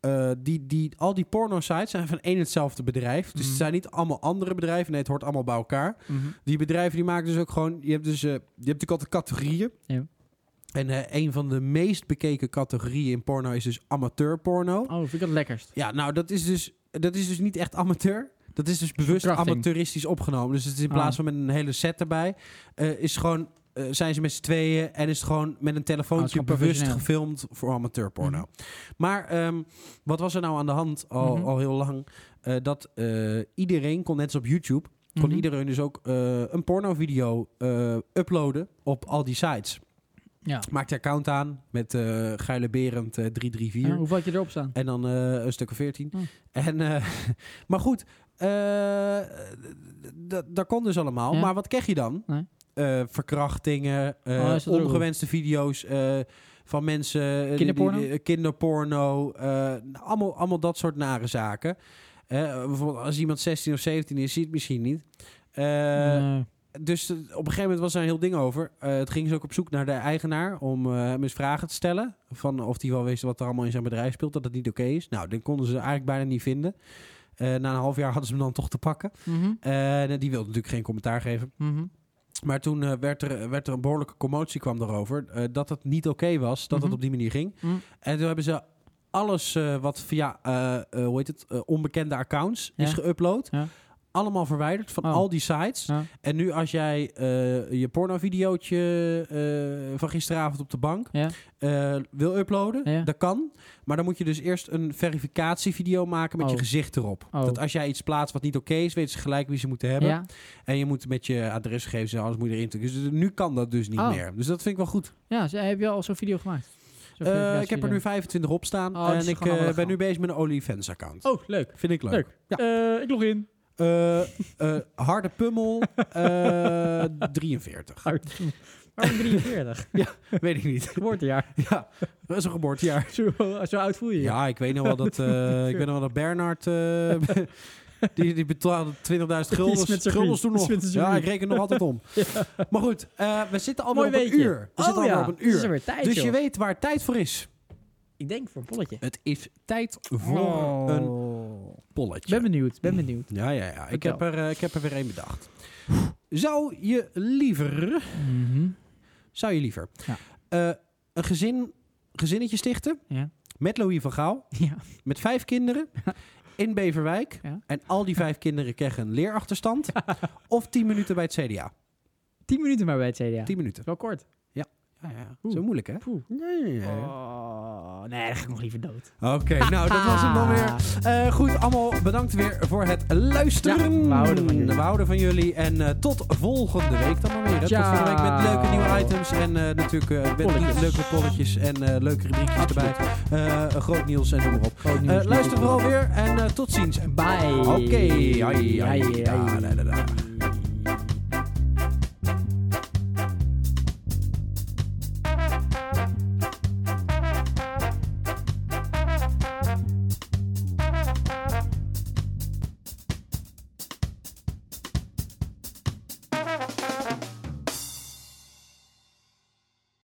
A: eh, die, die, al die porno-sites zijn van één en hetzelfde bedrijf. Dus
B: Mhm.
A: het zijn niet allemaal andere bedrijven. Nee, het hoort allemaal bij elkaar.
B: Mhm.
A: Die bedrijven die maken dus ook gewoon. Je hebt dus eh, je hebt natuurlijk altijd categorieën.
B: Ja.
A: En eh, een van de meest bekeken categorieën in porno is dus amateurporno.
B: Oh, vind ik het lekkerst.
A: Ja, nou dat is dus dat is dus niet echt amateur. Dat is dus bewust
B: verkrachting.
A: amateuristisch opgenomen. Dus het is in
B: Ah.
A: plaats van met een hele set erbij, eh, is gewoon eh, zijn ze met z'n tweeën en is het gewoon met een telefoontje
B: Ah, het is gewoon
A: bewust
B: professioneel.
A: gefilmd voor amateurporno. Maar ehm, wat was er nou aan de hand al,
B: Mhm.
A: al heel lang? Eh, dat eh, iedereen kon, net als op YouTube, kon
B: Mhm.
A: iedereen dus ook eh, een pornovideo eh, uploaden op al die sites.
B: Ja.
A: Maakt je account aan met eh Geile Berend eh, 334.
B: Ja, hoeveel had je erop staan?
A: En dan eh, een stuk of veertien.
B: Oh.
A: En, eh, maar goed, eh, dat- dat kon dus allemaal.
B: Ja.
A: Maar wat krijg je dan?
B: Nee.
A: Eh, verkrachtingen, eh,
B: Oh, is dat er ook
A: ongewenste video's eh, van mensen. eh, die-
B: Kinderporno?
A: die- eh, kinderporno. eh, allemaal, allemaal dat soort nare zaken. Eh, bijvoorbeeld als iemand 16 of 17 is, zie je het misschien niet. Eh,
B: Nee.
A: dus eh, op een gegeven moment was daar een heel ding over. Eh, het ging ze ook op zoek naar de eigenaar om eh, hem eens vragen te stellen. Van of hij wel wist wat er allemaal in zijn bedrijf speelt, dat het niet oké is. Nou, dat konden ze eigenlijk bijna niet vinden. Eh, na een half jaar hadden ze hem dan toch te pakken.
B: Mhm.
A: Eh, die wilde natuurlijk geen commentaar geven.
B: Mhm.
A: Maar toen eh, werd, er, werd er een behoorlijke commotie kwam daarover. eh, dat het niet oké was, dat
B: Mhm.
A: het op die manier ging.
B: Mm.
A: En toen hebben ze alles eh, wat via, eh, eh, hoe heet het, eh, onbekende accounts is
B: Ja.
A: geüpload.
B: Ja.
A: Allemaal verwijderd van
B: Oh.
A: al die sites.
B: Ja.
A: En nu als jij eh, je pornovideootje eh, van gisteravond op de bank
B: Ja.
A: eh, wil uploaden,
B: Ja.
A: dat kan. Maar dan moet je dus eerst een verificatievideo maken met
B: Oh.
A: je gezicht erop.
B: Oh.
A: Dat als jij iets plaatst wat niet oké is, weten ze gelijk wie ze moeten hebben.
B: Ja.
A: En je moet met je adresgegevens en alles moet je erin. drukken. Dus nu kan dat dus niet
B: Oh.
A: meer. Dus dat vind ik wel goed.
B: ja, ze- heb je al zo'n video gemaakt? Zo'n
A: Eh, ik heb
B: verificatievideo.
A: er nu 25 op staan.
B: Oh, dat
A: en
B: is
A: ik
B: gewoon
A: eh,
B: allemaal
A: ben nu
B: legaal.
A: bezig met een OnlyFans account.
B: Oh, leuk.
A: Vind ik leuk.
B: Leuk.
A: Ja.
B: Eh, ik log in.
A: eh, eh, harde pummel, eh, 43.
B: Waarom 43?
A: Weet ik niet.
B: Geboortejaar.
A: Ja, dat is een geboortejaar.
B: Zo, zo oud voel je je.
A: Ja, ik weet nog wel dat, eh, ik weet nog wel dat Bernard... eh, die, die betaalde 20.000 guldens.
B: met zijn
A: Guldens
B: vriend.
A: toen nog.
B: Die is met zijn
A: Ja, ik
B: vriend.
A: reken nog altijd om. Maar goed, eh, we zitten alweer
B: Mooi
A: op een
B: weetje.
A: uur. We zitten
B: oh
A: alweer op
B: ja,
A: een
B: Het is
A: uur.
B: alweer tijd,
A: Dus je
B: joh.
A: weet waar tijd voor is.
B: Ik denk voor een polletje.
A: Het is tijd voor
B: Oh.
A: een polletje.
B: ben benieuwd, ben benieuwd.
A: Ja, ja, ja. Ik
B: Vertel.
A: heb, er, eh, ik heb er weer één bedacht. Zou je liever,
B: Mm-hmm.
A: zou je liever
B: Ja.
A: eh, een gezin, gezinnetje stichten
B: Ja.
A: met Louis van Gaal,
B: Ja.
A: met vijf kinderen in Beverwijk
B: Ja.
A: en al die vijf kinderen krijgen een leerachterstand of tien minuten bij het CDA?
B: Tien minuten maar bij het CDA.
A: Tien minuten.
B: Wel kort.
A: Ja, ja.
B: Oeh.
A: Zo moeilijk, hè?
B: Poeh.
A: Nee.
B: Oh, nee, dan ga ik nog liever dood.
A: Oké, nou, dat was hem dan weer.
B: Ah.
A: Eh, goed, allemaal bedankt weer voor het luisteren.
B: Ja, we houden van jullie.
A: We houden van jullie. En eh, tot volgende week dan maar weer. hè. Tot
B: Ciao.
A: volgende week met leuke nieuwe items. En eh, natuurlijk eh, met
B: Polletjes.
A: leuke polletjes en eh, leuke rubriekjes erbij. Eh, groot nieuws en noem maar op.
B: Groot nieuws.
A: Eh, luister vooral weer en eh, tot eh, ziens.
B: Bye.
A: Oké. Ai, ai,
B: Ai, ai.
A: da, da, da, da.